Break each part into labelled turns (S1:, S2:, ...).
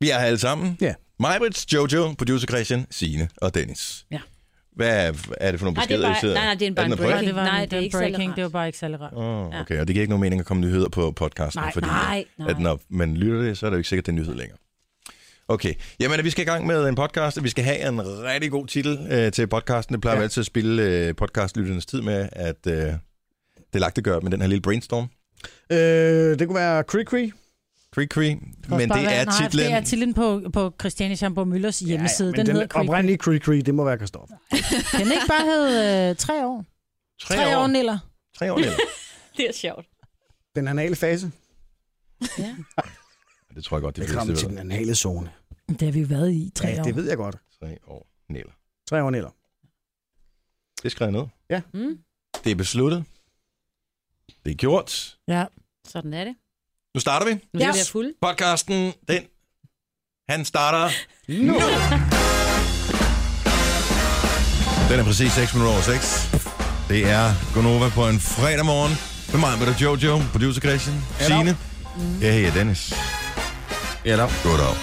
S1: Vi er her alle sammen.
S2: Ja.
S1: Majbrits, Jojo, producer Christian, Sine og Dennis.
S3: Ja.
S1: Hvad er, er det for nogle
S3: Nej, det
S1: beskeder,
S3: er
S1: I
S3: bare,
S1: sidder?
S3: nej, nej, det er en bare
S1: den
S3: en
S1: breaking?
S3: breaking. Nej, det er
S4: en
S3: ikke
S4: breaking, det var
S3: breaking.
S4: bare ikke særlig rart.
S1: Oh, okay, og det giver ikke nogen mening at komme nyheder på podcasten,
S3: Nej,
S1: fordi
S3: nej, nej.
S1: At når man lytter det, så er det jo ikke sikkert, det er nyhed længere. Okay, jamen vi skal i gang med en podcast, og vi skal have en rigtig god titel øh, til podcasten. Det plejer ja. vi altid at spille øh, podcastlytternes tid med, at øh, det er lagt at gøre med den her lille brainstorm.
S2: Øh, det kunne være Cree
S1: Creek Creek,
S4: Det
S1: men
S4: kan også
S1: det
S4: bare
S1: er
S4: være-
S1: titlen.
S4: Nej, det er titlen på, på Christiane Schamborg Møllers hjemmeside. den, hedder Creek.
S2: oprindelige Cree Cree, det må være Kristoffer.
S4: Creek. Den ikke bare hed øh, tre år.
S1: Tre,
S4: tre år,
S1: år.
S4: Niller.
S1: Tre år, eller?
S3: Det er sjovt.
S2: Den anale fase.
S1: Det tror jeg godt, det
S2: Velkommen til
S1: fleste
S2: den
S1: ved.
S2: anale zone.
S4: Det har vi jo været i tre
S2: Ja,
S4: år.
S2: det ved jeg godt.
S1: Tre år, Næler.
S2: Tre år eller.
S1: Det skrev jeg ned.
S3: Mm,
S1: Det er besluttet. Det er gjort.
S4: Ja.
S3: sådan er det.
S1: Nu starter vi.
S3: Nu
S4: Ja.
S3: yes. er jeg fuld.
S1: Podcasten, den, han starter nu. Den er præcis 6 minutter over 6. Det er Gonova på en fredag morgen. Med mig, med dig, Jojo, producer Christian, Signe. Jeg hedder Dennis. Eller Goddag.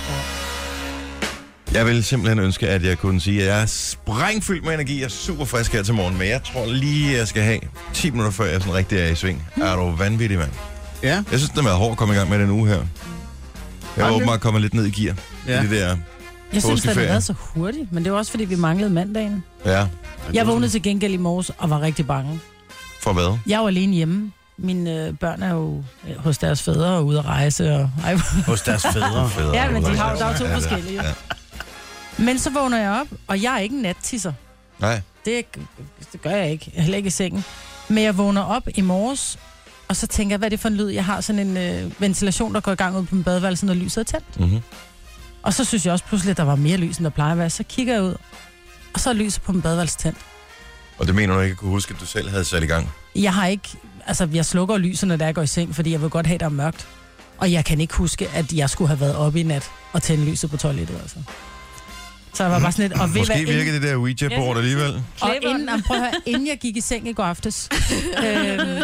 S1: Jeg vil simpelthen ønske, at jeg kunne sige, at jeg er sprængfyldt med energi. Jeg er super frisk her til morgen, men jeg tror lige, jeg skal have 10 minutter, før jeg sådan rigtig er i sving. Er du vanvittig, mand?
S2: Ja.
S1: Jeg synes, den har været hård at komme i gang med den uge her. Jeg
S2: Ej,
S1: er
S2: men-
S1: åbenbart kommet lidt ned i gear. Ja.
S2: Ja.
S1: Det der.
S4: Jeg synes, den har
S1: Påskeferie.
S4: været så hurtig, men det var også, fordi vi manglede mandagen.
S1: Ja,
S4: Jeg vågnede til gengæld i morges og var rigtig bange.
S1: for hvad?
S4: Jeg var alene hjemme. Mine øh, børn er jo øh, hos deres fædre og ude at rejse. Og... Ej, hvor-
S2: Hos deres fædre.
S1: Fædre,
S4: Ja, men de
S1: eller-
S4: har jo- der er jo to
S1: Ja, det
S4: forskellige.
S1: Ja.
S4: men så vågner jeg op, og jeg er ikke en nattisser.
S1: Nej,
S4: Det, det gør jeg ikke. Heller ikke i sengen. Men jeg vågner op i morges, og så tænker jeg, hvad er det for en lyd? Jeg har sådan en øh, ventilation, der går i gang ud på min badeværelse, når lyset er tændt.
S1: mm-hmm.
S4: Og så synes jeg også pludselig, at der var mere lys, end der plejer at være. Så kigger jeg ud, og så er lyset på min badeværelse tændt.
S1: Og det mener du ikke kunne huske, at du selv havde sat i gang.
S4: Jeg har ikke... Altså, jeg slukker lysene, da jeg går i seng, fordi jeg vil godt have, at der er mørkt. Og jeg kan ikke huske, at jeg skulle have været oppe i nat og tænde lyset på toilettet, altså. Så jeg var bare sådan lidt... Og ved
S1: Måske
S4: hvad,
S1: virker det der Ouija-board alligevel.
S4: Og inden, jamen, prøv at høre, inden jeg gik i seng i går aftes, øhm,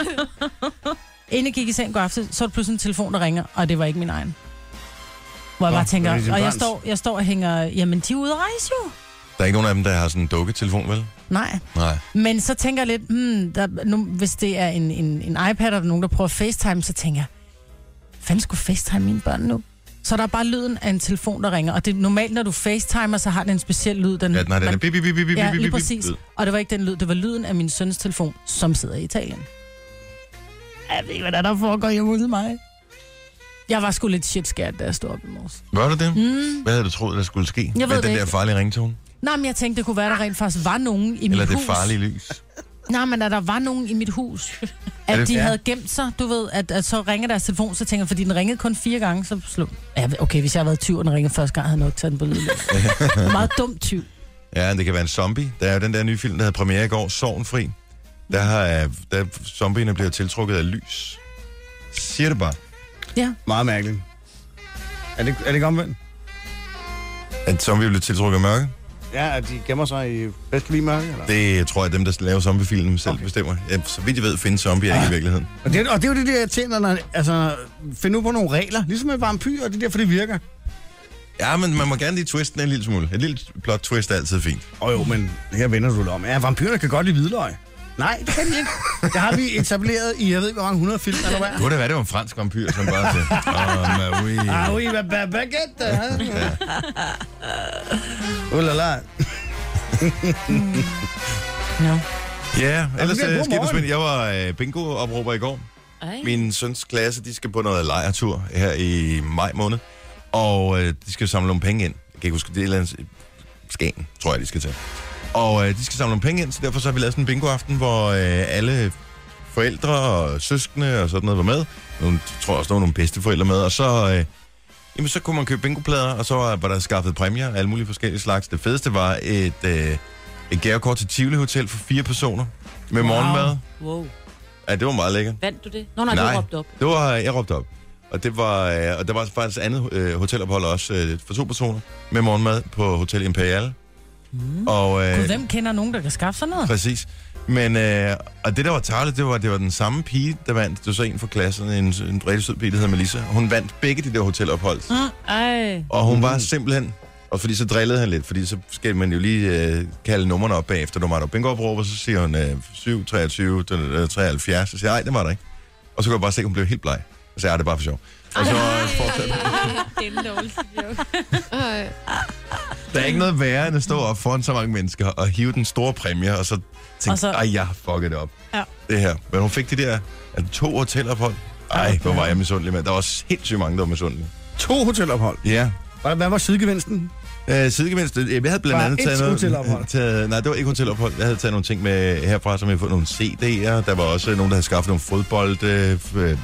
S4: inden jeg gik i seng i går aftes, så er der pludselig en telefon, der ringer, og det var ikke min egen. Hvor jeg
S2: Nå,
S4: bare
S2: det er
S4: tænker,
S1: ligesom
S2: din
S4: og jeg
S2: barns.
S4: står, jeg står og hænger, jamen de er ude at rejse jo.
S1: Der er ikke nogen af dem, der har sådan en dukketelefon, vel?
S4: Nej.
S1: Nej.
S4: Men så tænker jeg lidt, hmm, der, nu, hvis det er en, en, en iPad, og der er nogen, der prøver at FaceTime, så tænker jeg, fanden skulle FaceTime mine børn nu? Så der er bare lyden af en telefon, der ringer. Og det er normalt, når du FaceTimer, så har den en speciel lyd. Den,
S1: Ja, nej, den
S4: man-
S1: er bip, bip, bip, bip, bip,
S4: Ja,
S1: bip,
S4: lige
S1: bip,
S4: præcis.
S1: bip.
S4: Og det var ikke den lyd, det var lyden af min søns telefon, som sidder i Italien. Jeg ved ikke, hvad der, er, der foregår hjemme hos mig. Jeg var sgu lidt shit scared, da jeg stod op i morges.
S1: Var du det?
S4: Mm.
S1: Hvad havde du troet, der skulle ske?
S4: ved
S1: Med
S4: det
S1: den der
S4: ikke.
S1: farlige ringtone?
S4: Nej, men jeg tænkte, det kunne være, der rent faktisk var nogen i
S1: Eller
S4: mit
S1: det
S4: hus.
S1: farlige lys?
S4: Nej, men at der var nogen i mit hus,
S1: Er
S4: at
S1: det-
S4: de
S1: ja.
S4: havde gemt sig. Du ved, at, at så ringer deres telefon, så tænker jeg, fordi den ringede kun fire gange, så slog ja, okay, hvis jeg havde været 20, og den ringede første gang, havde jeg nok taget den på lydløs. Meget dum tyv.
S1: Ja, det kan være en zombie. Der er jo den der nye film, der havde premiere i går, Sorgenfri. Der har øh, der zombierne bliver tiltrukket af lys. Siger det bare.
S2: Meget mærkeligt. Er det, er det ikke omvendt?
S1: At zombie bliver tiltrukket af mørke?
S2: Ja, at de gemmer sig i bedst lige mørke, eller?
S1: Det tror jeg, dem, der laver zombiefilmen selv okay. bestemmer. Ja, så vidt jeg ved, findes zombier
S2: Ah.
S1: ikke i virkeligheden.
S2: Og det, og det er jo det der, jeg tjener, når, altså, finde ud på nogle regler, ligesom med vampyr, og det er derfor, det virker.
S1: Ja, men man må gerne lige twiste den en lille smule. Et lille plot twist er altid fint.
S2: Åh oh, jo, men her vender du det om. Ja, vampyrer kan godt lide hvidløg. Nej, det kan de ikke. Det har vi etableret i, jeg ved ikke, hvor mange 100 film, eller hvad?
S1: Kunne det være, det var en fransk vampyr, som bare til. Oh, Marie.
S2: Ah oui, hvad ba baguette, ja. Uh la la.
S4: No.
S1: Ja, ellers
S2: det bliver en
S1: er
S2: god
S1: skidt og
S2: morgen.
S1: spændt. Jeg var øh, bingo-opråber i går.
S3: Ej.
S1: Min søns klasse, de skal på noget lejretur her i maj måned. Og øh, de skal samle nogle penge ind. Jeg kan ikke huske, det er et eller andet... øh, Skagen, tror jeg, de skal til. Og øh, de skal samle nogle penge ind, så derfor så har vi lavet sådan en bingo-aften, hvor øh, alle forældre og søskende og sådan noget var med. Nogle, jeg tror også, der var nogle bedsteforældre med. Og så, øh, jamen, så kunne man købe bingoplader, og så var var der skaffet præmier af alle mulige forskellige slags. Det fedeste var et, øh, et gavekort til Tivoli Hotel for fire personer med wow. morgenmad.
S3: Wow.
S1: Ja, det var meget lækkert.
S3: Vandt du det? Nå, nej, nej. du råbte op.
S1: Det var, øh, jeg råbte op. Og, det var, øh, og der var faktisk andet øh, hotelophold også øh, for to personer med morgenmad på Hotel Imperial. Mm. Og, øh,
S4: Gud, hvem kender nogen, der kan skaffe sådan noget?
S1: Præcis. Men, øh, og det der var tarlet, det var, det var den samme pige, der vandt. Det var så en fra klassen, en, en rigtig sød pige, der hedder Melissa. Hun vandt begge de der hotelophold.
S4: Ah.
S1: Mm.
S3: Ej.
S1: Og hun
S4: Mm.
S1: var simpelthen... Og fordi så drillede han lidt, fordi så skal man jo lige øh, kalde numrene op bagefter. Du var der bingo og så siger hun øh, 7, 23, den, øh, 73. Så siger jeg, nej, det var der ikke. Og så kunne jeg bare se, at hun blev helt bleg. Så er det er bare for sjov. Og så øh, fortsatte
S5: Det er en dårlig joke.
S1: Der er ikke noget værre, end at stå op foran så mange mennesker og hive den store præmie, og så
S4: Og
S1: tænke,
S4: så-
S1: ej, jeg har fucket det op.
S4: Ja.
S1: Det her. Men hun fik de der altså, to hotelophold. Ej, hvor var jeg misundelig, mand. Der var sindssygt mange, der var misundelige.
S2: To hotelophold.
S1: Ja.
S2: Hvad, hvad var sidegevinsten?
S1: Øh, sidegevinst, øh, jeg havde blandt
S2: Bare
S1: andet
S2: ét
S1: taget
S2: hotelophold.
S1: noget... Taget, nej, det var ikke hotelophold. Jeg havde taget nogle ting med herfra, som jeg havde fået nogle CD'er. Der var også øh, nogen, der havde skaffet nogle fodbold. Øh, f- øh,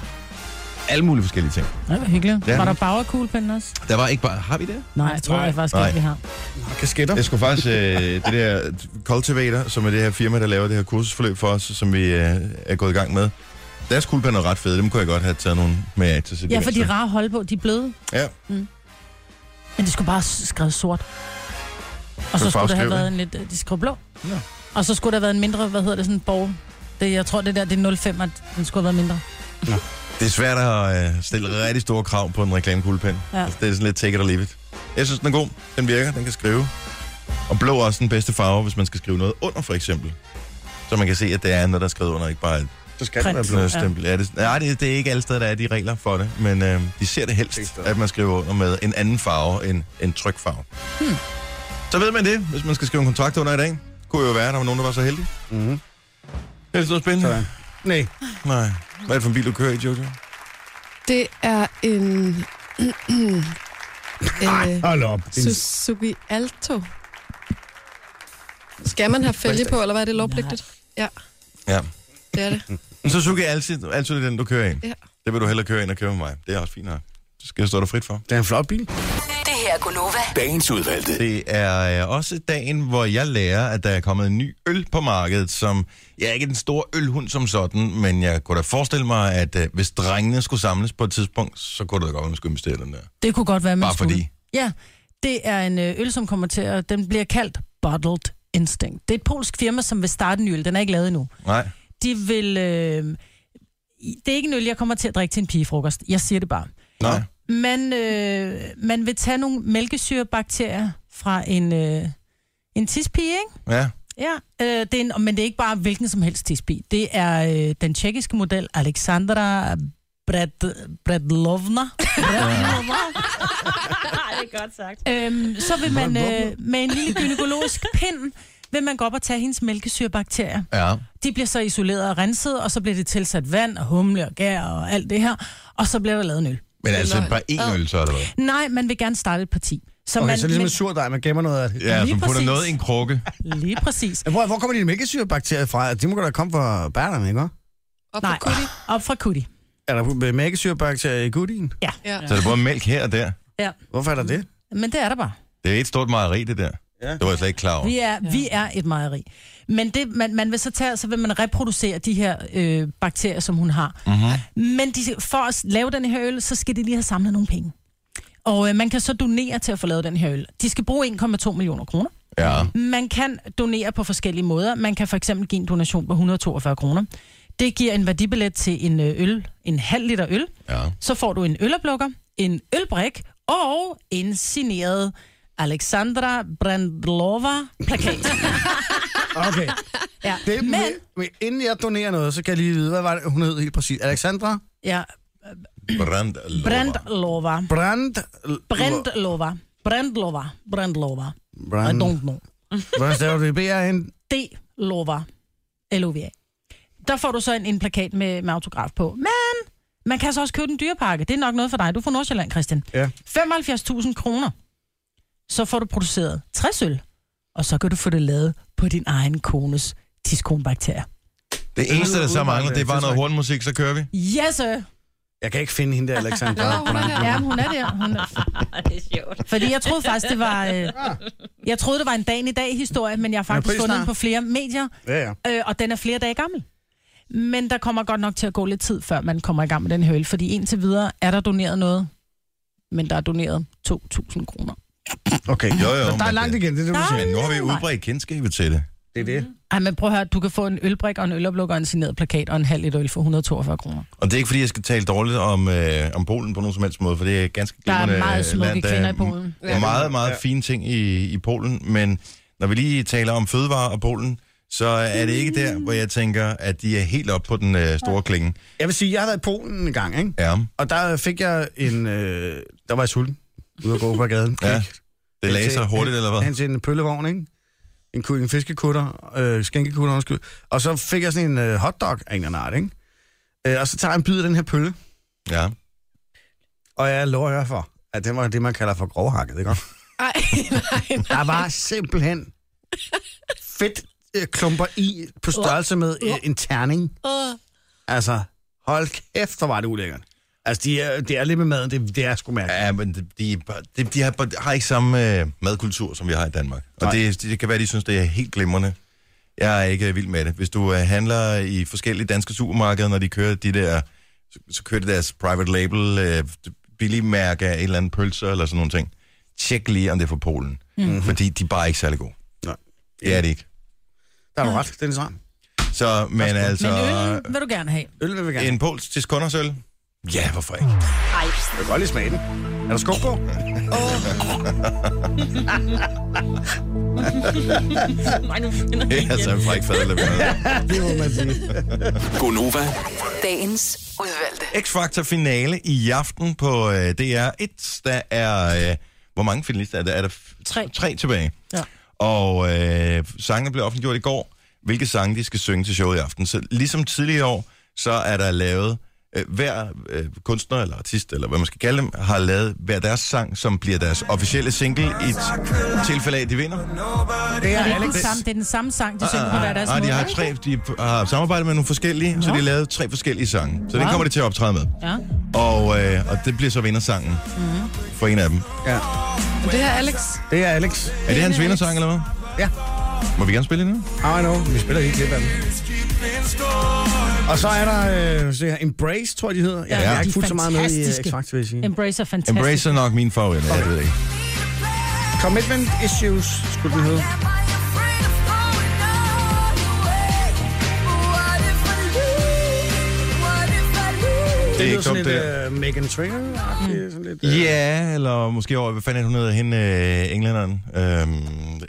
S1: alle mulige forskellige ting.
S4: Ja, det var hyggeligt.
S1: Ja.
S4: Ja. Var der bagerkuglepinden også?
S1: Der var ikke bare... Har vi det?
S4: Nej, jeg tror
S2: Nej.
S4: jeg faktisk
S1: Nej.
S4: ikke, vi har.
S2: Nå, Kasketter.
S1: Jeg skulle faktisk, øh, det der Cultivator, som er det her firma, der laver det her kursusforløb for os, som vi øh, er gået i gang med. Deres kuglepander er ret fede, dem kunne jeg godt have taget nogle med af til
S4: Ja,
S1: sidegevinster.
S4: for de er rare at holde på, de er bløde. Mm.
S1: Ja,
S4: Men de skulle bare s- skrevet sort. Og så skulle der
S1: farveskrive,
S4: have været en lidt... øh, De skrev blå.
S1: Nå.
S4: Ja. Og så skulle der have været en mindre, hvad hedder det, sådan en borg. Det, jeg tror, det der, det er 05, at den skulle have været mindre.
S1: det er svært at øh, stille rigtig store krav på en reklamekuglepen. Ja.
S4: Ja.
S1: Altså, det er sådan lidt take it or leave it. Jeg synes, den er god. Den virker, den kan skrive. Og blå er også den bedste farve, hvis man skal skrive noget under, for eksempel. Så man kan se, at det er noget, der er skrevet under, ikke bare et
S2: Så skal
S4: Print.
S2: den være blå.
S1: sådan noget stempel. Ja. det, nej, det, det er ikke alle steder, der er de regler for det, men øh, de ser det
S2: Ikke
S1: helst,
S2: steder.
S1: at man skriver under med en anden farve end en trykfarve. Hmm. Så ved man det, hvis man skal skrive en kontrakt under i dag. Kunne jo være, at der var nogen, der var så heldig.
S2: Mhm.
S1: Ellers noget spændende?
S2: Sådan. Nej.
S1: Nej. Hvad er det for en bil, du kører i, Jojo?
S5: Det er en... øh,
S2: Hold op.
S5: Suzuki Alto. Skal man have fælge på, eller hvad er det lovpligtigt? Ja,
S1: Ja.
S5: det er det.
S1: En Suzuki er altid, altid den, du kører ind.
S5: Ja.
S1: Det vil du hellere køre ind og køre med mig. Det er også fint nok. Det skal jeg stå dig frit for.
S2: Det er en flot bil.
S6: Det her er Gunova.
S7: Dagens udvalgte.
S1: Det er øh, også dagen, hvor jeg lærer, at der er kommet en ny øl på markedet, som... Jeg er ikke den store ølhund som sådan, men jeg kunne da forestille mig, at øh, hvis drengene skulle samles på et tidspunkt, så kunne det da godt, at man skulle investere i den der.
S4: Det kunne godt være, man
S1: Bare
S4: skulle.
S1: fordi.
S4: Ja, det er en øh, øl, som kommer til at... Den bliver kaldt Bottled Instinct. Det er et polsk firma, som vil starte en ny øl. Den er ikke lavet endnu.
S1: Nej.
S4: De vil... Øh, i- det er ikke en øl, jeg kommer til at drikke til en pigefrokost. Jeg siger det bare.
S1: Nej.
S4: Man, øh, man vil tage nogle mælkesyrebakterier fra en, øh, en tispige, ikke?
S1: Ja.
S4: Ja, øh, det er en, men det er ikke bare hvilken som helst tispi. Det er øh, den tjekkiske model Alexandra Brad, Bradlovna.
S3: Ej, det er godt sagt.
S4: øhm, så vil man øh, med en lille gynækologisk pind, vil man gå op og tage hendes mælkesyrebakterier.
S1: Ja.
S4: De bliver så isoleret og renset, og så bliver det tilsat vand og humle og gær og alt det her. Og så bliver der lavet en øl.
S1: Men altså
S5: løgn.
S1: bare én øl, så er det hvad?
S4: Nej, man vil gerne starte et parti. Så
S2: Okay,
S4: man,
S2: så ligesom en surdej, man gemmer noget af det.
S1: Ja,
S4: Lige
S1: som putter
S4: præcis.
S1: noget i en krukke.
S4: men, lige præcis.
S2: Men Hvor, hvor kommer dine mælkesyrebakterier fra? De må godt da komme fra bærnerne, ikke? hva'?
S5: Op på
S4: Nej, ah,
S5: Kuti.
S4: op fra Kuti.
S2: Er der mælkesyrebakterier i gudien?
S5: Ja.
S1: Så er det både mælk her og der.
S2: Hvorfor er der det?
S4: Men det er der bare.
S1: Det er et stort mejeri, det der.
S2: Ja.
S1: Det var jeg slet ikke klar over.
S4: Vi er, ja. vi er et mejeri. Men det, man, man vil så tage, så vil man reproducere de her øh, bakterier, som hun har.
S1: Mhm.
S4: Mm-hmm. Men de, for at lave den her øl, så skal de lige have samlet nogle penge. Og øh, man kan så donere til at få lavet den her øl. De skal bruge 1,2 millioner kroner.
S1: Ja.
S4: Man kan donere på forskellige måder. Man kan for eksempel give en donation på 142 kroner. Det giver en værdibillet til en øh, øl, en halv liter øl.
S1: Ja.
S4: Så får du en øloplukker, en ølbrik og en signeret Alexandra Brandlova-plakat.
S2: Okay.
S4: Ja.
S2: Det, men...
S4: Men,
S2: men... inden jeg donerer noget, så kan jeg lige vide, hvad var det, hun hed helt præcis? Alexandra
S4: ja,
S1: Brand.
S4: Brandlova.
S2: Brand...
S4: Brandlova. Brandlova. Brandlova. I
S2: Brand...
S4: don't know.
S2: Hvordan staver du det? B-R-N?
S4: D-Lova. L-O-V-A. Der får du så en, en plakat med, med autograf på. Men man kan så også købe den dyrepakke. Det er nok noget for dig. Du får Nordsjælland, Christian.
S2: Ja.
S4: 75.000 kroner. Så får du produceret 60 øl. Og så kan du få det lavet på din egen kones tiskonbakterier.
S1: Det eneste, der så mangler, det er bare noget hornmusik, så kører vi.
S4: Yes, sir.
S2: Jeg kan ikke finde hende der, Alexandra.
S5: Nå, hun er
S4: Ja,
S5: her.
S4: men hun er der. Hun er...
S3: Ej, det er sjovt.
S4: Fordi jeg troede faktisk, det var... Øh, jeg troede, det var en dagen i dag historie, men jeg har faktisk
S2: Ah. prisen
S4: fundet
S2: er-
S4: den på flere medier,
S2: Ja, ja.
S4: øh, og den er flere dage gammel. Men der kommer godt nok til at gå lidt tid, før man kommer i gang med den her øl, fordi indtil videre er der doneret noget, men der er doneret 2.000 kroner.
S2: Okay.
S1: Jo, jo,
S2: Så der er
S1: men
S2: langt
S1: det-
S2: igen, det er det, du
S4: Nej.
S2: siger.
S1: Men nu har vi
S4: Nej.
S1: udbredt kendskabet til det.
S2: Det er det.
S4: Ej, men prøv at høre, du kan få en ølbrik og en øloplukker og en signeret plakat og en halv liter øl for 142 kroner.
S1: Og det er ikke, fordi jeg skal tale dårligt om, øh, om Polen på nogen som helst måde, for det er et ganske
S4: Der er
S1: glimrende
S4: meget smukke
S1: land. Der
S4: kvinder
S1: er
S4: i Polen.
S1: m- meget, meget
S2: Ja.
S1: fine ting i, i Polen, men når vi lige taler om fødevarer og Polen, så er det ikke der, hvor jeg tænker, at de er helt oppe på den øh, store klinge.
S2: Jeg vil sige, jeg har været i Polen en gang, ikke?
S1: Ja,
S2: Og der fik jeg en... Øh, der var jeg sulten. Ude at gå på gaden.
S1: Ja.
S2: Gik
S1: det
S2: hen
S1: lagde
S2: til-
S1: sig hurtigt, eller hvad?
S2: Hen til en pøllevogn, ikke? En, ku- en fiskekutter, øh, skænkekutter, undskyld. Og så fik jeg sådan en øh, hotdog af en eller anden art, ikke? Øh, og så tager jeg en bid af den her pølle,
S1: Ja.
S2: og jeg lover jer for, at den var det, man kalder for grovhakket, ikke?
S5: Ej, nej, nej.
S2: Der var simpelthen fedt øh, klumper i på størrelse med øh, en terning.
S5: Åh.
S2: Altså, hold kæft, hvor var det ulækkert. Altså, de er, det er lidt med maden, det, det er sgu mærkeligt.
S1: Ja, men de, de, de, de har, har ikke samme øh, madkultur, som vi har i Danmark. Og
S2: Nej.
S1: det, det kan være, de synes, det er helt glimrende. Jeg er ikke øh, vild med det. Hvis du øh, handler i forskellige danske supermarkeder, når de kører de der, så, så kører de deres private label, øh, billige mærke af et eller andet pølser eller sådan nogle ting. Tjek lige, om det er fra Polen.
S2: Mhm. Mm.
S1: Mm-hmm. Fordi de er bare ikke særlig gode.
S2: Nej.
S1: Det er det ikke.
S2: Der er du ret, Dennis Ravn.
S1: Så, men altså...
S4: Men øl vil du gerne have.
S2: Øl vil vi gerne.
S1: En polsk til skundersøl? Ja, hvorfor ikke?
S2: Jeg kan godt lide smage den. Er der skub på?
S3: Nej, nu finder jeg
S1: Ja, så er jeg fræk fadel med.
S2: Det må man sige.
S6: Gonova.
S7: Dagens udvalgte.
S1: X-Factor finale i aften på øh, DR1. Der er, øh, hvor mange finalister er der? Er der f-
S4: Tre.
S1: tre tilbage?
S4: Ja.
S1: Og øh, sangene blev offentliggjort i går, hvilke sange de skal synge til showet i aften. Så ligesom tidligere år, så er der lavet, øh, hver øh, kunstner eller artist, eller hvad man skal kalde dem, har lavet hver deres sang, som bliver deres officielle single i t- tilfælde af, at de vinder.
S2: Det er
S4: Det
S2: Alex.
S4: er,
S2: Ah,
S4: den samme, det er den samme sang, de synger på hver deres
S1: Nej, Ah, de
S4: måde.
S1: har, tre, de har samarbejdet med nogle forskellige, så de har lavet tre forskellige sange. Så den
S4: Wow.
S1: kommer de til at optræde med.
S4: Ja.
S1: Og, øh, og det bliver så vindersangen mm-hmm. for en af dem.
S2: Ja.
S5: Men det her er Alex.
S2: Det er Alex.
S1: Er det hans vindersang, eller hvad?
S2: Ja.
S1: Må vi gerne spille den nu?
S2: I know. Vi spiller lige et klip af den. Og så er der øh, se her, Embrace, tror jeg, de hedder. Ja,
S4: Ja,
S2: jeg
S4: de
S2: er
S4: er
S2: ikke fuldt så meget med i øh,
S4: fantastiske.
S2: X-Factor, vil jeg sige.
S4: Embrace er fantastisk.
S1: Embrace er nok min favorit, jeg ved ikke.
S2: Commitment Issues, skulle den hedde.
S1: Det er
S2: lyder
S1: ikke
S2: sådan
S1: dumt, det
S2: lidt, øh, Megan Trainor. Mm. Sådan lidt, øh,
S1: Ja, eller måske over, hvad fanden er hun hedder, hende øh, englænderen? Øhm,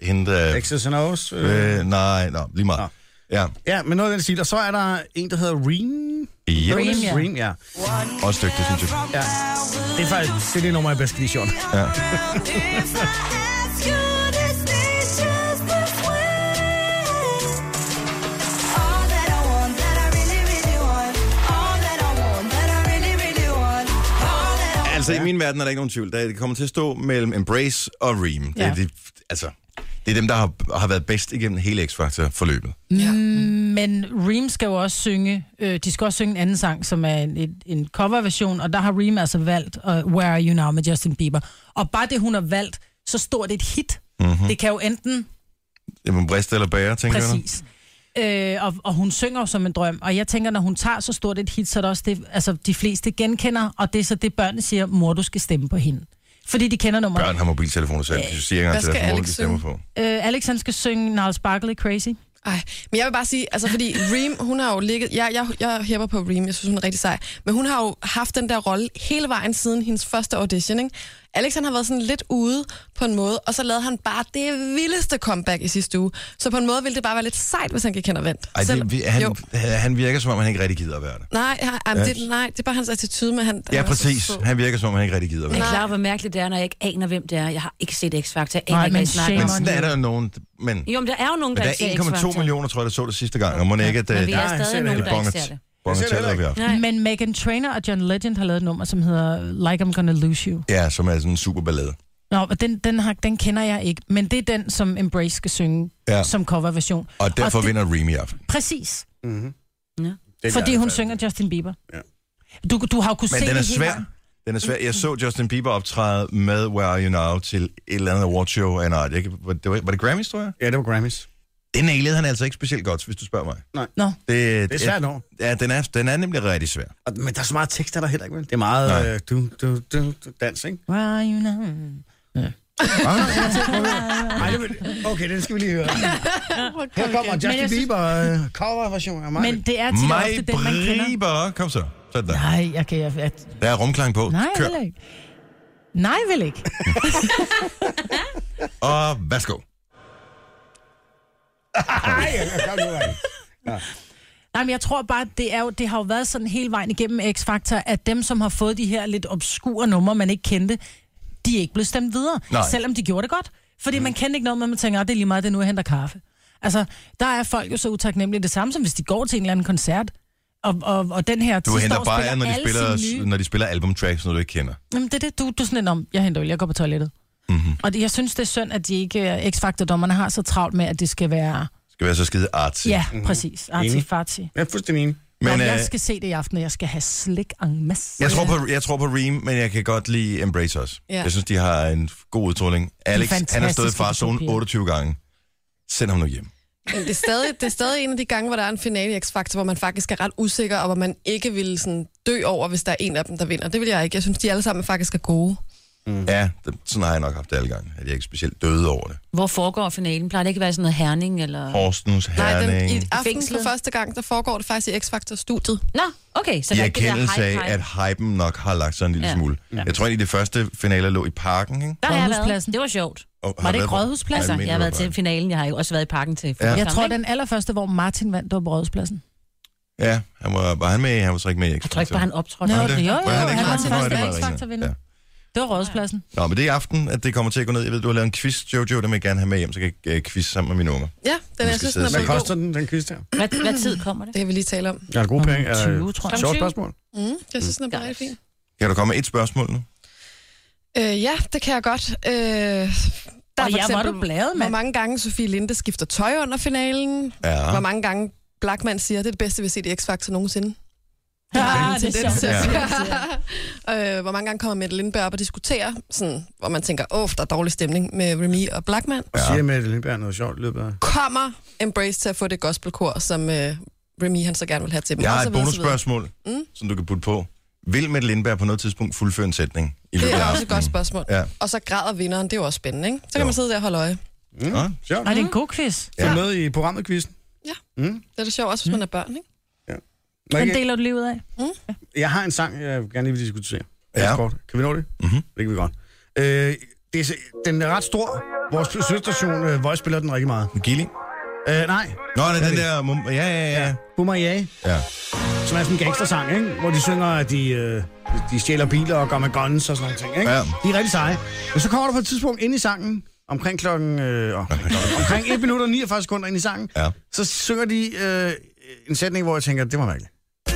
S1: hende der...
S2: X's and O's. Øh.
S1: Øh, nej, nå, lige meget. Ja,
S2: Ja, men noget af den stil. Og så er der en, der hedder Reem.
S1: Yep.
S4: Reem, ja.
S2: Reem, ja.
S1: også dygtig, synes jeg.
S2: ja. Det er faktisk det, er det nummer, jeg bedst kan lide, Sean.
S1: Ja. Altså, i min verden er der ikke nogen tvivl. Der- Det kommer til at stå mellem Embrace og Reem. Det, er
S4: Ja.
S1: de, altså, det er dem, der har, har været bedst igennem hele X-Factor-forløbet.
S4: Mm.
S1: Mm.
S4: Men Reem skal jo også synge, øh, de skal også synge en anden sang, som er en, en, en coverversion, og der har Reem altså valgt uh, Where Are You Now med Justin Bieber. Og bare det, hun har valgt, så stort et hit.
S1: Mhm.
S4: Mm-hmm. Det kan jo enten
S1: Jamen, briste eller bære, tænker jeg.
S4: Præcis. Øh, og, og hun synger jo som en drøm. Og jeg tænker, når hun tager så stort et hit, så er det også det, altså, de fleste genkender, og det er så det, børnene siger, mor, du skal stemme på hende. Fordi de kender nummeret.
S1: Børn har mobiltelefoner selv, de siger ikke engang
S5: Hvad
S1: til
S5: skal
S1: deres mor,
S5: Alex
S1: de stemmer
S5: synge?
S1: på.
S4: Øh, Alex, han skal synge Niles Barkley Crazy.
S5: Ej, men jeg vil bare sige, altså fordi Reem, hun har jo ligget, jeg, jeg, jeg hæpper på Reem, jeg synes, hun er rigtig sej, men hun har jo haft den der rolle hele vejen siden hendes første audition, ikke? Alex han har været sådan lidt ude på en måde, og så lavede han bare det vildeste comeback i sidste uge. Så på en måde ville det bare være lidt sejt, hvis han gik hen og vandt.
S1: Ej,
S5: Selv-
S1: det, vi- han,
S5: jo.
S1: han virker som om, han ikke rigtig gider at være det.
S5: Nej, ja, jamen, det, nej, det er bare hans attitude med han.
S1: Ja,
S5: han er så
S1: præcis.
S5: sød.
S1: Han virker som om, han ikke rigtig gider at
S3: Er
S1: være
S3: I
S1: det.
S3: klar, over, hvor mærkeligt det er, når jeg ikke aner, hvem det er? Jeg har ikke set X-Factor. Jeg aner
S4: Nej,
S3: ikke, hvad
S4: men
S3: I snakker
S1: Men
S3: om.
S4: shame
S1: sådan er der jo nogen. Men, men
S3: Jo, men der er jo nogen, der,
S1: der
S3: ikke ser
S1: er 1,2
S3: X-Factor.
S1: millioner, tror jeg, der så det sidste gang. Og må det ikke, at øh,
S3: Men vi
S1: der
S3: er
S2: Nej, jeg ser det
S3: stadig nogen,
S2: heller
S3: der ikke ser det.
S2: Jeg ser det
S1: bonger
S2: heller
S1: vi har.
S3: Nej.
S4: Men Megan Trainor og John Legend har lavet et nummer, som hedder Like I'm Gonna Lose You.
S1: Ja, som er sådan en super ballade.
S4: Nå, og den, den, har, den kender jeg ikke, men det er den, som Embrace skal synge
S1: Ja.
S4: ja. som coverversion.
S1: Og derfor
S4: det-
S1: vinder Remy i aften.
S4: Præcis,
S2: Mm-hmm. Det
S4: fordi
S2: er-
S4: hun synger Justin Bieber.
S2: Ja.
S4: Du, du har jo kunnet
S1: Men
S4: se
S1: den
S4: det
S1: er
S4: hele
S1: svær.
S4: vejen.
S1: Den er svær. Jeg så Justin Bieber optræde med Where Are You Now til et eller andet awardshow. af en art. Jeg kan- Var det, var det Grammys, tror jeg?
S2: Ja, det var Grammys.
S1: Den nailede han altså ikke specielt godt, hvis du spørger mig.
S4: Nå,
S1: Det,
S2: Det er svært over.
S1: Ja, den er, den er nemlig rigtig svær.
S2: Og- Men der er så øh, meget tekster der heller ikke, vel? Det er meget
S1: Nej.
S2: øh, du, du, du, du, dans, ikke?
S4: Why you know?
S2: Ej, det vil- Okay, den skal vi lige høre. Her kommer
S4: Men jeg
S2: Justin
S4: synes-
S2: Bieber øh, coverversion af mig.
S4: Men det er tit og ofte den, man kender.
S1: Briber. Kom så. Så er det der.
S4: Nej, jeg kan... Jeg, jeg,
S1: Der er rumklang på.
S4: nej,
S1: Kør.
S4: vel ikke. Nej, vel ikke.
S1: Og værsgo.
S4: Nej, men jeg tror bare, det, er jo, det har jo været sådan hele vejen igennem X-Factor, at dem, som har fået de her lidt obskure numre, man ikke kendte, de er ikke blevet stemt videre,
S1: Nej.
S4: selvom de gjorde det godt. Fordi mm. man kendte ikke noget, men man tænker, at det er lige meget, det er nu, jeg henter kaffe. Altså, der er folk jo så utaknemmelige det samme, som hvis de går til en eller anden koncert, og, og, og den her
S1: Du
S4: sidste
S1: henter
S4: år
S1: bare af, når de
S4: alle sine
S1: spiller,
S4: nye-
S1: når de spiller albumtracks, når du ikke kender.
S4: Jamen, det er det, du, du er sådan lidt om, jeg henter øl, jeg går på toilettet.
S1: Mhm.
S4: Mm-hmm. Og det, jeg synes, det er synd, at de ikke, øh, X-Factor-dommerne har så travlt med, at det skal være,
S1: Det Skal være så skide artsy.
S4: ja, præcis, artifarti.
S2: Jeg er fuldstændig enig.
S1: Men
S4: Men,
S1: øh,
S4: jeg skal se det i aften, og jeg skal have slik en masse.
S1: jeg, tror på, jeg tror på Reem, men jeg kan godt lide Embrace Us.
S5: Ja.
S1: Jeg synes, de har en god udtrådning. Alex, han har stået i
S4: fantastiske
S1: farzonen
S4: papirer.
S1: 28 gange. Send ham nu hjem.
S5: Men det er, stadig, det er stadig en af de gange, hvor der er en finale i X-Factor, hvor man faktisk er ret usikker, og hvor man ikke vil sådan, dø over, hvis der er en af dem, der vinder. Det vil jeg ikke. Jeg synes, de alle sammen faktisk er gode.
S1: Ja, det, sådan har jeg nok haft det alle gange. At jeg ikke specielt døde over det.
S3: Hvor foregår finalen? Plejer det ikke at være sådan noget herning, eller...
S1: Horsens,
S5: Nej, den,
S1: Herning.
S5: i aften for
S3: Fængslet.
S5: første gang, der foregår det faktisk i X-Factor-studiet.
S3: Nå, okay, så
S1: I
S3: der er ikke det der
S1: erkendelse
S3: hype,
S1: af,
S3: hype.
S1: at hypen nok har lagt sig en lille
S3: Ja.
S1: smule. Jeg tror egentlig, det første finale lå i parken, ikke?
S3: Der har jeg været.
S4: Rådhuspladsen.
S3: Det var sjovt.
S1: Og, har du
S3: Var det
S1: været
S3: ikke
S1: på-
S3: Rådhuspladsen?
S1: Nej,
S3: Jeg,
S1: mener,
S3: jeg har
S1: du
S3: været
S1: var
S3: til finalen. Jeg har jo også været i parken til
S1: Ja.
S4: Jeg
S3: Sammen,
S4: tror,
S3: ikke?
S4: den allerførste, hvor Martin vandt, det var på Rådhuspladsen.
S1: parken. Ja, han var, var han med? Han var så ikke med i
S3: Jeg tror ikke bare, han optrådte.
S4: Nå,
S1: Var han
S4: jo,
S1: det?
S4: jo,
S1: Var han
S4: jo,
S1: ikke med?
S4: han var
S1: Nå,
S4: til
S1: det
S4: første
S1: var
S4: X
S1: ringe.
S4: Factor-vinder.
S1: Ja.
S4: Det var Rådhuspladsen.
S1: Nå, men det er i aften, at det kommer til at gå ned. Jeg ved, du har lavet en quiz, Jojo, det vil jeg gerne have med hjem, så kan jeg øh, quiz sammen med mine unger.
S5: Ja, den
S3: altså
S1: Vi
S5: jeg
S1: skal
S5: synes,
S1: sidde
S5: den er
S2: Hvad
S1: og se.
S5: blevet
S2: koster
S5: god.
S2: den, den quiz der?
S3: Hvad, hvad tid kommer det?
S5: Det kan vi lige tale om.
S2: Jeg har gode penge. Øh,
S4: 20, tror jeg.
S2: Sjovt spørgsmål.
S5: Mm, jeg synes, den er blevet
S3: Dejligt.
S5: rigtig fin.
S1: Kan du komme med et spørgsmål nu?
S5: Øh, ja, det kan jeg godt. Øh, der
S4: Og ja, hvor er du bladet,
S5: hvor
S4: mand.
S5: mange gange Sofie Linde skifter tøj under finalen. Ja. Hvor
S1: Ja.
S5: mange gange Blackman siger, det er det bedste, vi har set i X-Factor nogensinde.
S4: Ja,
S5: en
S4: det er
S5: tendens til
S4: sjovt.
S5: at
S1: Ja.
S5: sige. øh, hvor mange gange kommer Mette Lindberg op og diskuterer, sådan, hvor man tænker, åh, der er dårlig stemning med Remy og Blackman.
S2: Og siger Mette Lindberg noget sjovt i løbet af...
S5: Kommer Embrace til at få det gospelkor, som øh, Remy han så gerne vil have til dem?
S1: Jeg
S5: Og
S1: har
S5: så
S1: et
S5: videre, så videre.
S1: bonusspørgsmål,
S5: Mm.
S1: som du kan putte på. Vil Mette Lindberg på noget tidspunkt fuldføre en sætning i løbet
S5: Det
S1: af
S5: er også et godt
S1: aftenen?
S5: spørgsmål.
S1: Ja.
S5: Og så græder vinderen, det er jo også spændende, ikke? Så kan
S1: Jo.
S5: man sidde der og holde øje.
S2: Mm.
S1: Nå,
S2: Sjovt.
S4: Ej, det er en god quiz.
S2: Du er med i programmet Mm. quizzen.
S5: Det er da sjovt, også hvis man er børn, ikke?
S2: Må jeg
S4: Den
S2: ikke-
S4: deler du livet af.
S2: Jeg har en sang, jeg gerne lige vil diskutere.
S1: Ja.
S2: Ja. Kort. Kan vi nå det?
S1: Mhm.
S2: Det kan vi godt. Øh, det er, s- den er ret stor. Vores søsterstation øh, Voice spiller den rigtig meget.
S1: Gilly?
S2: Øh, nej,
S1: Nå, det er den der... mum- Ja, ja, ja.
S2: Bumariae,
S1: ja.
S2: som er sådan en gangstersang, ikke? hvor de synger, at de, øh, de stjæler biler og går med guns og sådan nogle ting. Ikke?
S1: Ja.
S2: De er rigtig seje. Men så kommer der på et tidspunkt ind i sangen, omkring klokken... Øh, omkring, klokken omkring 1 minut og 49 sekunder ind i sangen,
S1: Ja.
S2: så synger de øh, en sætning, hvor jeg tænker, det var mærkeligt.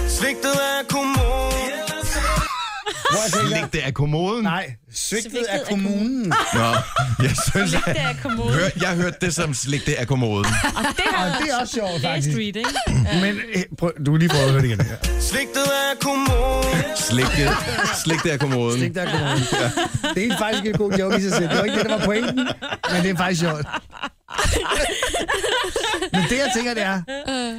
S6: Svigtet af kommunen.
S2: Hvor jeg tænker,
S1: Slik det af kommoden?
S2: nej, svigtet
S3: Svigtet
S2: af
S3: af
S2: kommunen.
S1: Nå, jeg synes, at...
S3: Det er kommoden.
S1: Hør, jeg hørte det som slik det af kommoden.
S3: Det
S2: Og det er også sjovt, faktisk.
S3: street, ikke?
S2: Men øh, prøv, du kan lige prøve at høre det igen.
S6: Svigtet af kommunen.
S1: Slik det, slik det af kommoden.
S2: Slik der kommer ud. Det er faktisk en god joke i sig selv. Det var ikke det, der var pointen, men det er faktisk sjovt. Men det, jeg tænker, det er,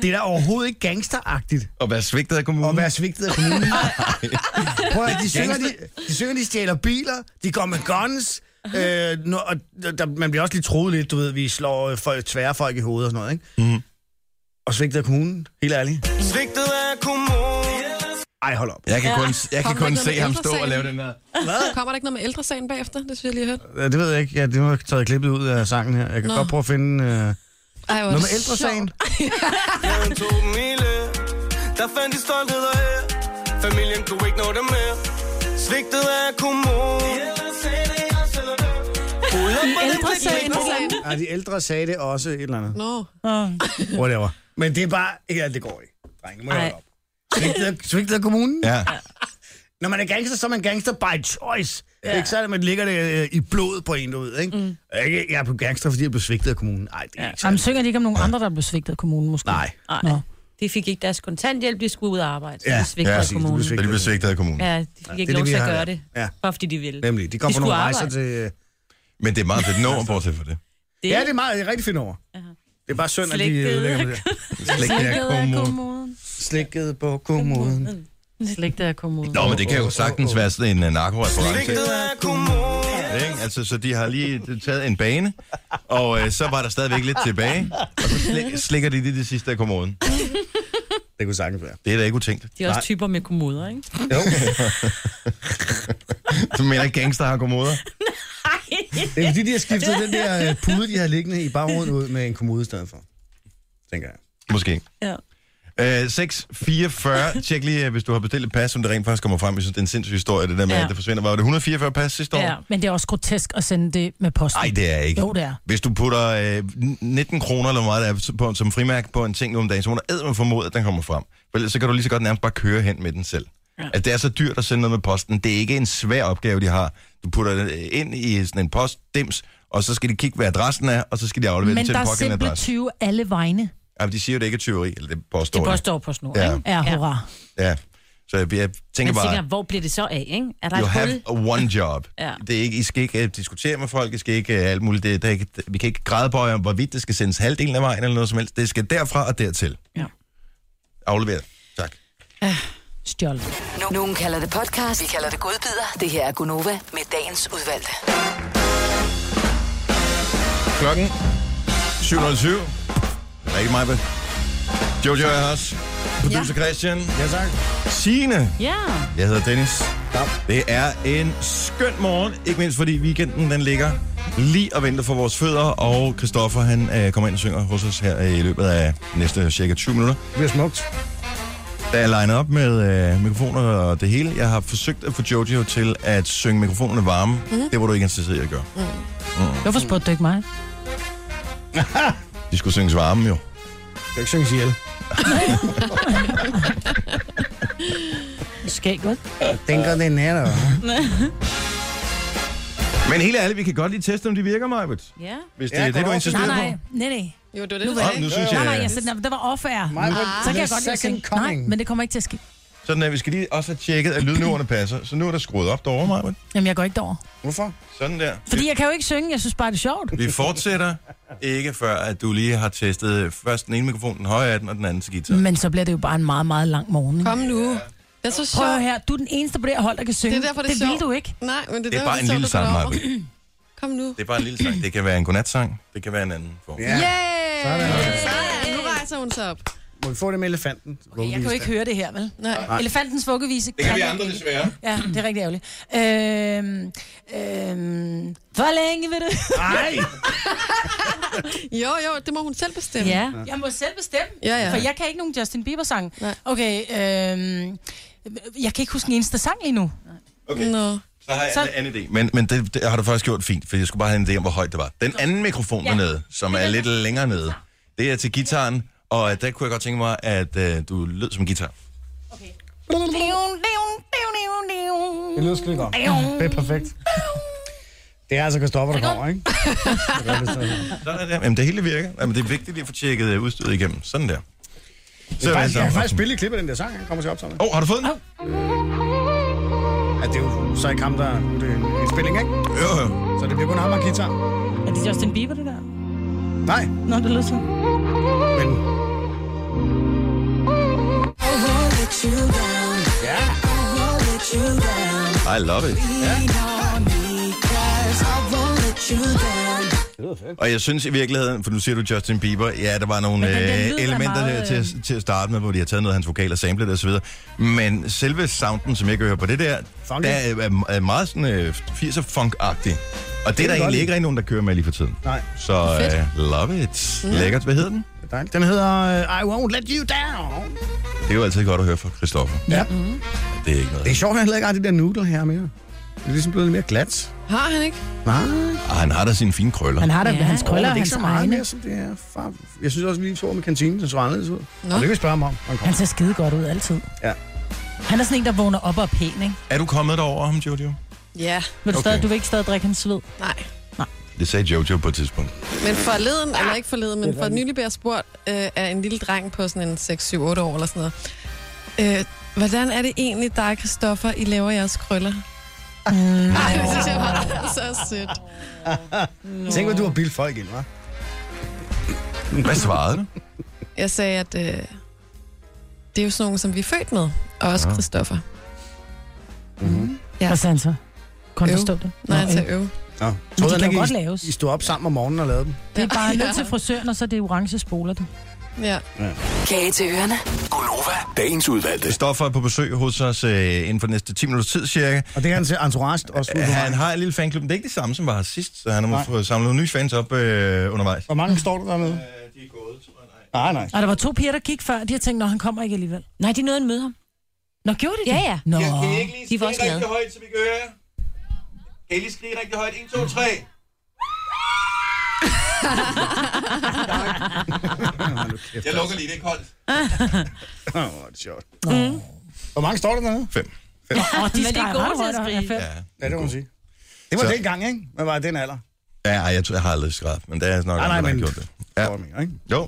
S2: det er da overhovedet ikke gangsteragtigt
S1: Og være svigtet af
S2: at
S1: kommunen.
S2: være svigtet af kommunen. Prøv at, de synger, de, de synger, de stjæler biler, de går med guns, øh, når, og der, man bliver også lige troet lidt, du ved, vi slår øh, folk, tvære folk i hovedet og sådan noget, ikke? Mm.
S1: Mhm.
S2: Og svigtet af kommunen, helt ærligt.
S6: Svigtet af kommunen.
S2: Ej, hold op.
S1: Jeg kan kun, jeg kan
S5: Kommer
S1: kun
S5: ikke
S1: se
S5: noget
S1: ham
S5: ældre
S1: stå og
S5: sagen.
S1: lave den der.
S5: Kommer der ikke noget med ældresagen bagefter? Det synes jeg lige har
S2: Ja,
S5: hørt.
S2: Det ved jeg ikke. Ja, det var taget klippet ud af sangen her. Jeg kan Nå.
S5: Nå.
S2: godt prøve at finde... Øh,
S5: Ej, hvor er
S2: Noget
S5: det
S2: med ældresagen.
S5: sjovt.
S6: Jeg tog dem i løb. Der fandt de stolthed og ære. Familien kunne ikke nå dem mere. Svigtet af kommunen. Rulle op og lidt
S5: Ældresagen.
S6: lidt
S5: Ældresagen.
S2: Ja, de ældre sagde det også et eller andet.
S5: Nå.
S2: Whatever. Men det er bare... Ja, det går ikke. Drenge, må jeg
S3: Ej.
S2: holde op. Svigtet af- Svigtet af kommunen? Ja.
S1: Ja.
S2: Når man er gangster, så er man gangster by choice. Ja. Ikke så, at man ligger det øh, i blodet på en, du ved, ikke? Mm. ikke? Jeg er på gangster, fordi jeg blev svigtet af kommunen. Nej, det er ja. ikke
S4: Jamen,
S2: særlig.
S4: synger de ikke om nogen andre, der blev svigtet af kommunen, måske?
S2: Nej.
S3: Nej,
S4: Nå.
S3: de fik ikke deres kontanthjælp, de skulle ud og arbejde. Så
S2: Ja,
S3: de svigtede
S1: ja,
S3: af
S1: præcis, de
S3: kommunen.
S2: blev
S1: Så de blev svigtet af kommunen.
S3: Ja, de fik
S2: det er
S3: ikke
S2: det,
S3: lov
S2: vi
S3: til at
S2: har
S3: gøre
S2: der.
S3: det,
S2: Ja.
S3: bare fordi de ville.
S2: Nemlig, de kom på
S3: De
S2: nogle
S3: skulle
S2: rejser til... øh,
S1: Men det er meget fedt nummer, bortset for det.
S3: Det
S2: Ja, det er meget det er rigtig fint over. Det er bare synd, at de
S3: Slikket.
S2: øh, lægger med det.
S1: Slik det af kommunen.
S4: kommunen.
S2: Slikket på kommunen.
S4: Slægtet af kommunen.
S1: Nå, men det kan jo sagtens være sådan en øh, narkoreference.
S6: Svigtet af kommunen.
S1: Ikke? altså, så de har lige taget en bane, og øh, så var der stadigvæk lidt tilbage, og så slik, slikker de lige det sidste af kommoden.
S2: Det kunne sagtens være.
S1: Det er da ikke utænkeligt.
S8: De er også typer med kommoder, ikke?
S2: Jo,
S1: Du mener ikke gangster har kommoder?
S2: det er fordi, de har skiftet den der øh, pude, de har liggende i baghovedet ud med en kommode i stedet for. Tænker jeg.
S1: Måske.
S8: Ja.
S1: Øh, 644. Tjek lige, øh, hvis du har bestilt et pas, som det rent faktisk kommer frem. Jeg synes, det er en sindssyg historie, det der med, ja.
S8: Ja.
S1: at det forsvinder. Var det 144 pas sidste år?
S8: Ja.
S4: Men det er også grotesk at sende det med posten.
S1: Nej, det er ikke.
S4: Jo, det er.
S1: Hvis du putter øh, 19 kroner eller hvor meget der er på, som frimærke på en ting nu om dagen, så må du ædme formode, at den kommer frem. For ellers så kan du lige så godt nærmest bare køre hen med den selv. Ja. Altså, det er så dyrt at sende noget med posten. Det er ikke en svær opgave, de har. Du putter det øh, ind i sådan en postdims, og så skal de kigge, hvad adressen er, og så skal de aflevere den
S4: Men
S1: til
S4: der
S1: den
S4: er
S1: pågældende
S4: simpelthen
S1: adresse.
S4: 20 alle vegne.
S1: Jamen, de siger jo, det ikke er tyveri, eller det påstår
S3: Det
S1: de.
S3: påstår på snor,
S1: Ja.
S3: ja. ikke?
S4: Ja, hurra.
S1: Ja. Så jeg, jeg tænker
S3: Man
S1: bare...
S3: tænker, hvor bliver det så af, ikke? Er der
S1: You
S3: et
S1: have
S3: hul?
S1: a one job. ja.
S3: Ja.
S1: det er ikke, I skal ikke uh, diskutere med folk, I skal ikke uh, alt muligt. Det, det er ikke, det, vi kan ikke græde på om, hvorvidt det skal sendes halvdelen af vejen eller noget som helst. Det skal derfra og dertil.
S3: Ja.
S1: Afleveret. Tak.
S4: Stjålet.
S7: Nu- Nogen kalder det podcast, vi kalder det godbider. Det her er Gunova med dagens udvalgte.
S1: Klokken 7.07. Der er ikke mig, Jojo er her også. Producer Christian.
S2: Ja, tak.
S1: Signe.
S3: Ja.
S1: Jeg hedder Dennis. Det er en skøn morgen, ikke mindst fordi weekenden den ligger lige og venter for vores fødder, og Christoffer han øh, kommer ind og synger hos os her øh, i løbet af næste cirka 20 minutter.
S2: Det bliver smukt.
S1: Da jeg linede op med øh, mikrofoner og det hele, jeg har forsøgt at få Jojo til at synge mikrofonerne varme. Mm-hmm. Det var du ikke interesseret i at gøre.
S4: Mhm.
S1: Mm.
S4: Hvorfor spurgte du ikke mig?
S1: De skulle synges varme jo.
S2: Det er ikke synges ihjel.
S4: Skal ikke, vel?
S2: Tænker det er nære.
S1: Men helt ærligt, vi kan godt lige teste, om de virker, Majbet.
S3: Ja.
S1: Hvis det
S2: Ja,
S1: er det,
S2: godt.
S1: du
S2: Nej,
S1: insisterer
S4: Nej,
S1: på.
S4: nej, nej, nej.
S5: Jo, det var det,
S4: Nu
S5: du
S4: ved
S5: sagde.
S1: Nå, nu synes
S4: Nej, nej,
S1: jeg...
S4: jeg sagde, det var off-air. Så kan jeg godt lide
S2: second
S4: at synge.
S2: coming.
S4: Nej, men det kommer ikke til at ske.
S1: Sådan, at vi skal lige også have tjekket, at lydniveauerne passer. Så nu er der skruet op derovre, Majbet.
S4: Jamen, jeg går ikke derover.
S2: Hvorfor?
S1: Sådan der.
S4: Fordi jeg kan jo ikke synge, jeg synes bare, det er sjovt.
S1: Vi fortsætter ikke før, at du lige har testet først den ene mikrofon, den høje af den, og den anden til guitar.
S4: Men så bliver det jo bare en meget, meget lang morgen. ikke?
S5: Kom nu. Det er så
S4: Prøv
S5: sjovt.
S4: her, du er den eneste på det her hold, der kan synge.
S5: Det er derfor, det er
S4: det
S5: sjovt.
S4: vil du ikke.
S5: Nej, men det,
S1: Det er
S5: derfor,
S1: bare en
S5: sjovt,
S1: lille
S5: du går
S1: sang,
S5: derover.
S1: Maja.
S5: Kom nu.
S1: Det er bare en lille sang. Det kan være en godnatsang. Det kan være en anden form.
S2: Ja.
S5: Yeah!
S2: Sådan.
S5: Nu rejser hun sig op.
S2: Må vi få det med elefanten? Okay,
S4: Jeg kan jo ikke høre det her, vel?
S5: Nej.
S4: Elefantens vuggevise.
S1: Det kan vi andre desværre.
S4: Ja, det er rigtig ærgerligt. Øhm, øhm, hvor længe vil du?
S2: Nej!
S5: Jo, jo, det må hun selv bestemme.
S3: Ja.
S4: Jeg må selv bestemme,
S5: Ja, ja.
S4: for jeg kan ikke nogen Justin Bieber-sang.
S5: Nej.
S4: Okay, øhm, jeg kan ikke huske en eneste sang lige nu.
S1: Okay.
S5: Nå.
S1: Så har jeg
S4: Så-
S1: en anden idé. Men, men det, det, har du faktisk gjort fint, for jeg skulle bare have en idé om, hvor højt det var. Den anden mikrofon ja. dernede, som er lidt længere nede, det er til gitaren, og øh, der kunne jeg godt tænke mig, at øh, du lød som en guitar.
S2: Det lyder skide godt. Det er perfekt. Det er altså Christoffer, der kommer, ikke? Det er det sådan.
S1: Sådan der. Jamen, det hele virker. Jamen, det er vigtigt lige at få tjekket øh, udstyret igennem. Sådan der.
S2: Jeg
S1: Så
S2: kan faktisk-
S1: er vi
S2: jeg
S1: alle
S2: kan
S1: sammen.
S2: faktisk spille et klip af den der sang, han kommer til optagelsen.
S1: Åh, oh, har du fået den?
S2: Ja, det er jo så ikke ham, der... Det er en- en spilling, ikke?
S1: Jo, jo.
S2: Så det bliver kun ham og en guitar.
S8: Er det Justin Bieber, det der?
S2: Nej,
S8: Nå, det lyder så.
S2: men...
S1: I love it.
S2: Det lyder fedt.
S1: Og jeg synes i virkeligheden, for nu siger du Justin Bieber, ja, der var nogle
S8: Men den- den
S1: øh,
S8: lyd er
S1: elementer
S8: meget,
S1: der til, til at starte med, hvor de har taget noget af hans vokal og samlet det osv. Men selve sounden, som jeg kan høre på det der,
S2: Funky.
S1: der er, er, er meget sådan øh, 80'er funk-agtig. Og det er der
S2: godt
S1: egentlig
S2: lide.
S1: ikke rigtig nogen, der kører med lige for tiden.
S2: Nej,
S1: Så øh, love it. Lækkert. Hvad hedder den?
S2: det er dejligt. Den hedder øh, I Won't Let You Down.
S1: Det er jo altid godt at høre fra Christoffer.
S2: Ja.
S1: Det er ikke
S2: Det er
S1: noget.
S2: sjovt, at han heller ikke har det der noodle her mere. Det er ligesom blevet lidt mere glat.
S5: Har han ikke?
S2: Nej,
S1: Ah, han har da sine fine krøller.
S4: Han har da
S3: Ja.
S4: hans krøller
S2: det er
S4: og
S2: ikke
S4: hans
S2: så meget
S4: egne.
S2: mere, som det er. Far. Jeg synes også, at vi så med kantinen, den så anderledes ud.
S5: Nå.
S2: Og det kan vi spørge ham om. når Han
S4: Han
S2: kommer.
S4: ser skide godt ud altid.
S2: Ja.
S4: Han er sådan en, der vågner op og er pæn, ikke?
S1: Er du kommet derover ham, Jojo?
S5: Ja.
S4: Vil
S1: Okay.
S4: du, okay. stadig, du vil ikke stadig drikke hans sved?
S5: Nej.
S1: Det sagde Jojo på et tidspunkt.
S5: Men forleden, eller ikke forleden, men for nylig blev jeg spurgt øh, af en lille dreng på sådan en 6-7-8 år eller sådan noget. Øh, hvordan er det egentlig, dig og Christoffer, I laver jeres krøller?
S4: Mm.
S5: Nej, det synes jeg var så sødt.
S2: Tænk, hvad du har bildt folk ind, hva'?
S1: Hvad svarede du?
S5: Jeg sagde, at øh, det er jo sådan nogle, som vi er født med, og også Christoffer.
S4: Hvad sagde han så? Kunne han
S5: Øv.
S4: forstå det?
S5: Når han
S4: Mm-hmm. Nå, altså,
S5: sagde øv.
S2: Nå.
S4: Men
S2: Troede han
S4: de kan
S2: ikke,
S4: jo godt
S2: I-
S4: laves.
S2: I stod op sammen om morgenen og lavede dem.
S4: Det er bare ned til frisøren, og så er det orange spoler du.
S5: Ja.
S7: Kage til ørerne.
S9: Gonova, dagens udvalgte.
S1: Stoffer er på besøg hos os øh, inden for de næste 10 minutter tid cirka.
S2: Og det er han til Entourage også.
S1: Øh, Han har en lille fanklub, men det er ikke det samme, som var her sidst, så han har
S2: Nej.
S1: fået samlet nogle nye fans op øh, undervejs. Øh,
S2: Hvor mange står der dernede?
S1: de er gået, tror
S2: Nej,
S1: jeg, nej.
S2: nej.
S4: Og der var to piger, der gik før, de har tænkt, når han kommer ikke alligevel.
S3: Nej, de nåede at møde ham.
S4: Nå, gjorde de det?
S3: Ja, ja.
S4: Nå.
S3: De var også glade.
S1: højt, så vi kan høre jer? Kan I lige skrige rigtig højt? 1, 2, 3. Jeg lukker lige, det er koldt.
S2: Åh, hvor er det sjovt. Mm. Hvor mange står der dernede?
S1: Fem.
S4: Og de
S3: Men de er
S4: skal
S3: gode
S4: ret
S3: til at
S4: højt, og
S3: skrige.
S4: er fem.
S2: Ja,
S1: Ja,
S2: det må man sige. Det var
S1: Så-
S2: dengang, ikke? Men var den alder?
S1: ja ej, jeg, tror, jeg har aldrig skrædt, men det er nok,
S2: Nej, nej,
S1: andre, der har
S2: men-
S1: gjort det.
S2: Ja.
S1: Ja.
S2: Står der mere, ikke?
S1: Jo,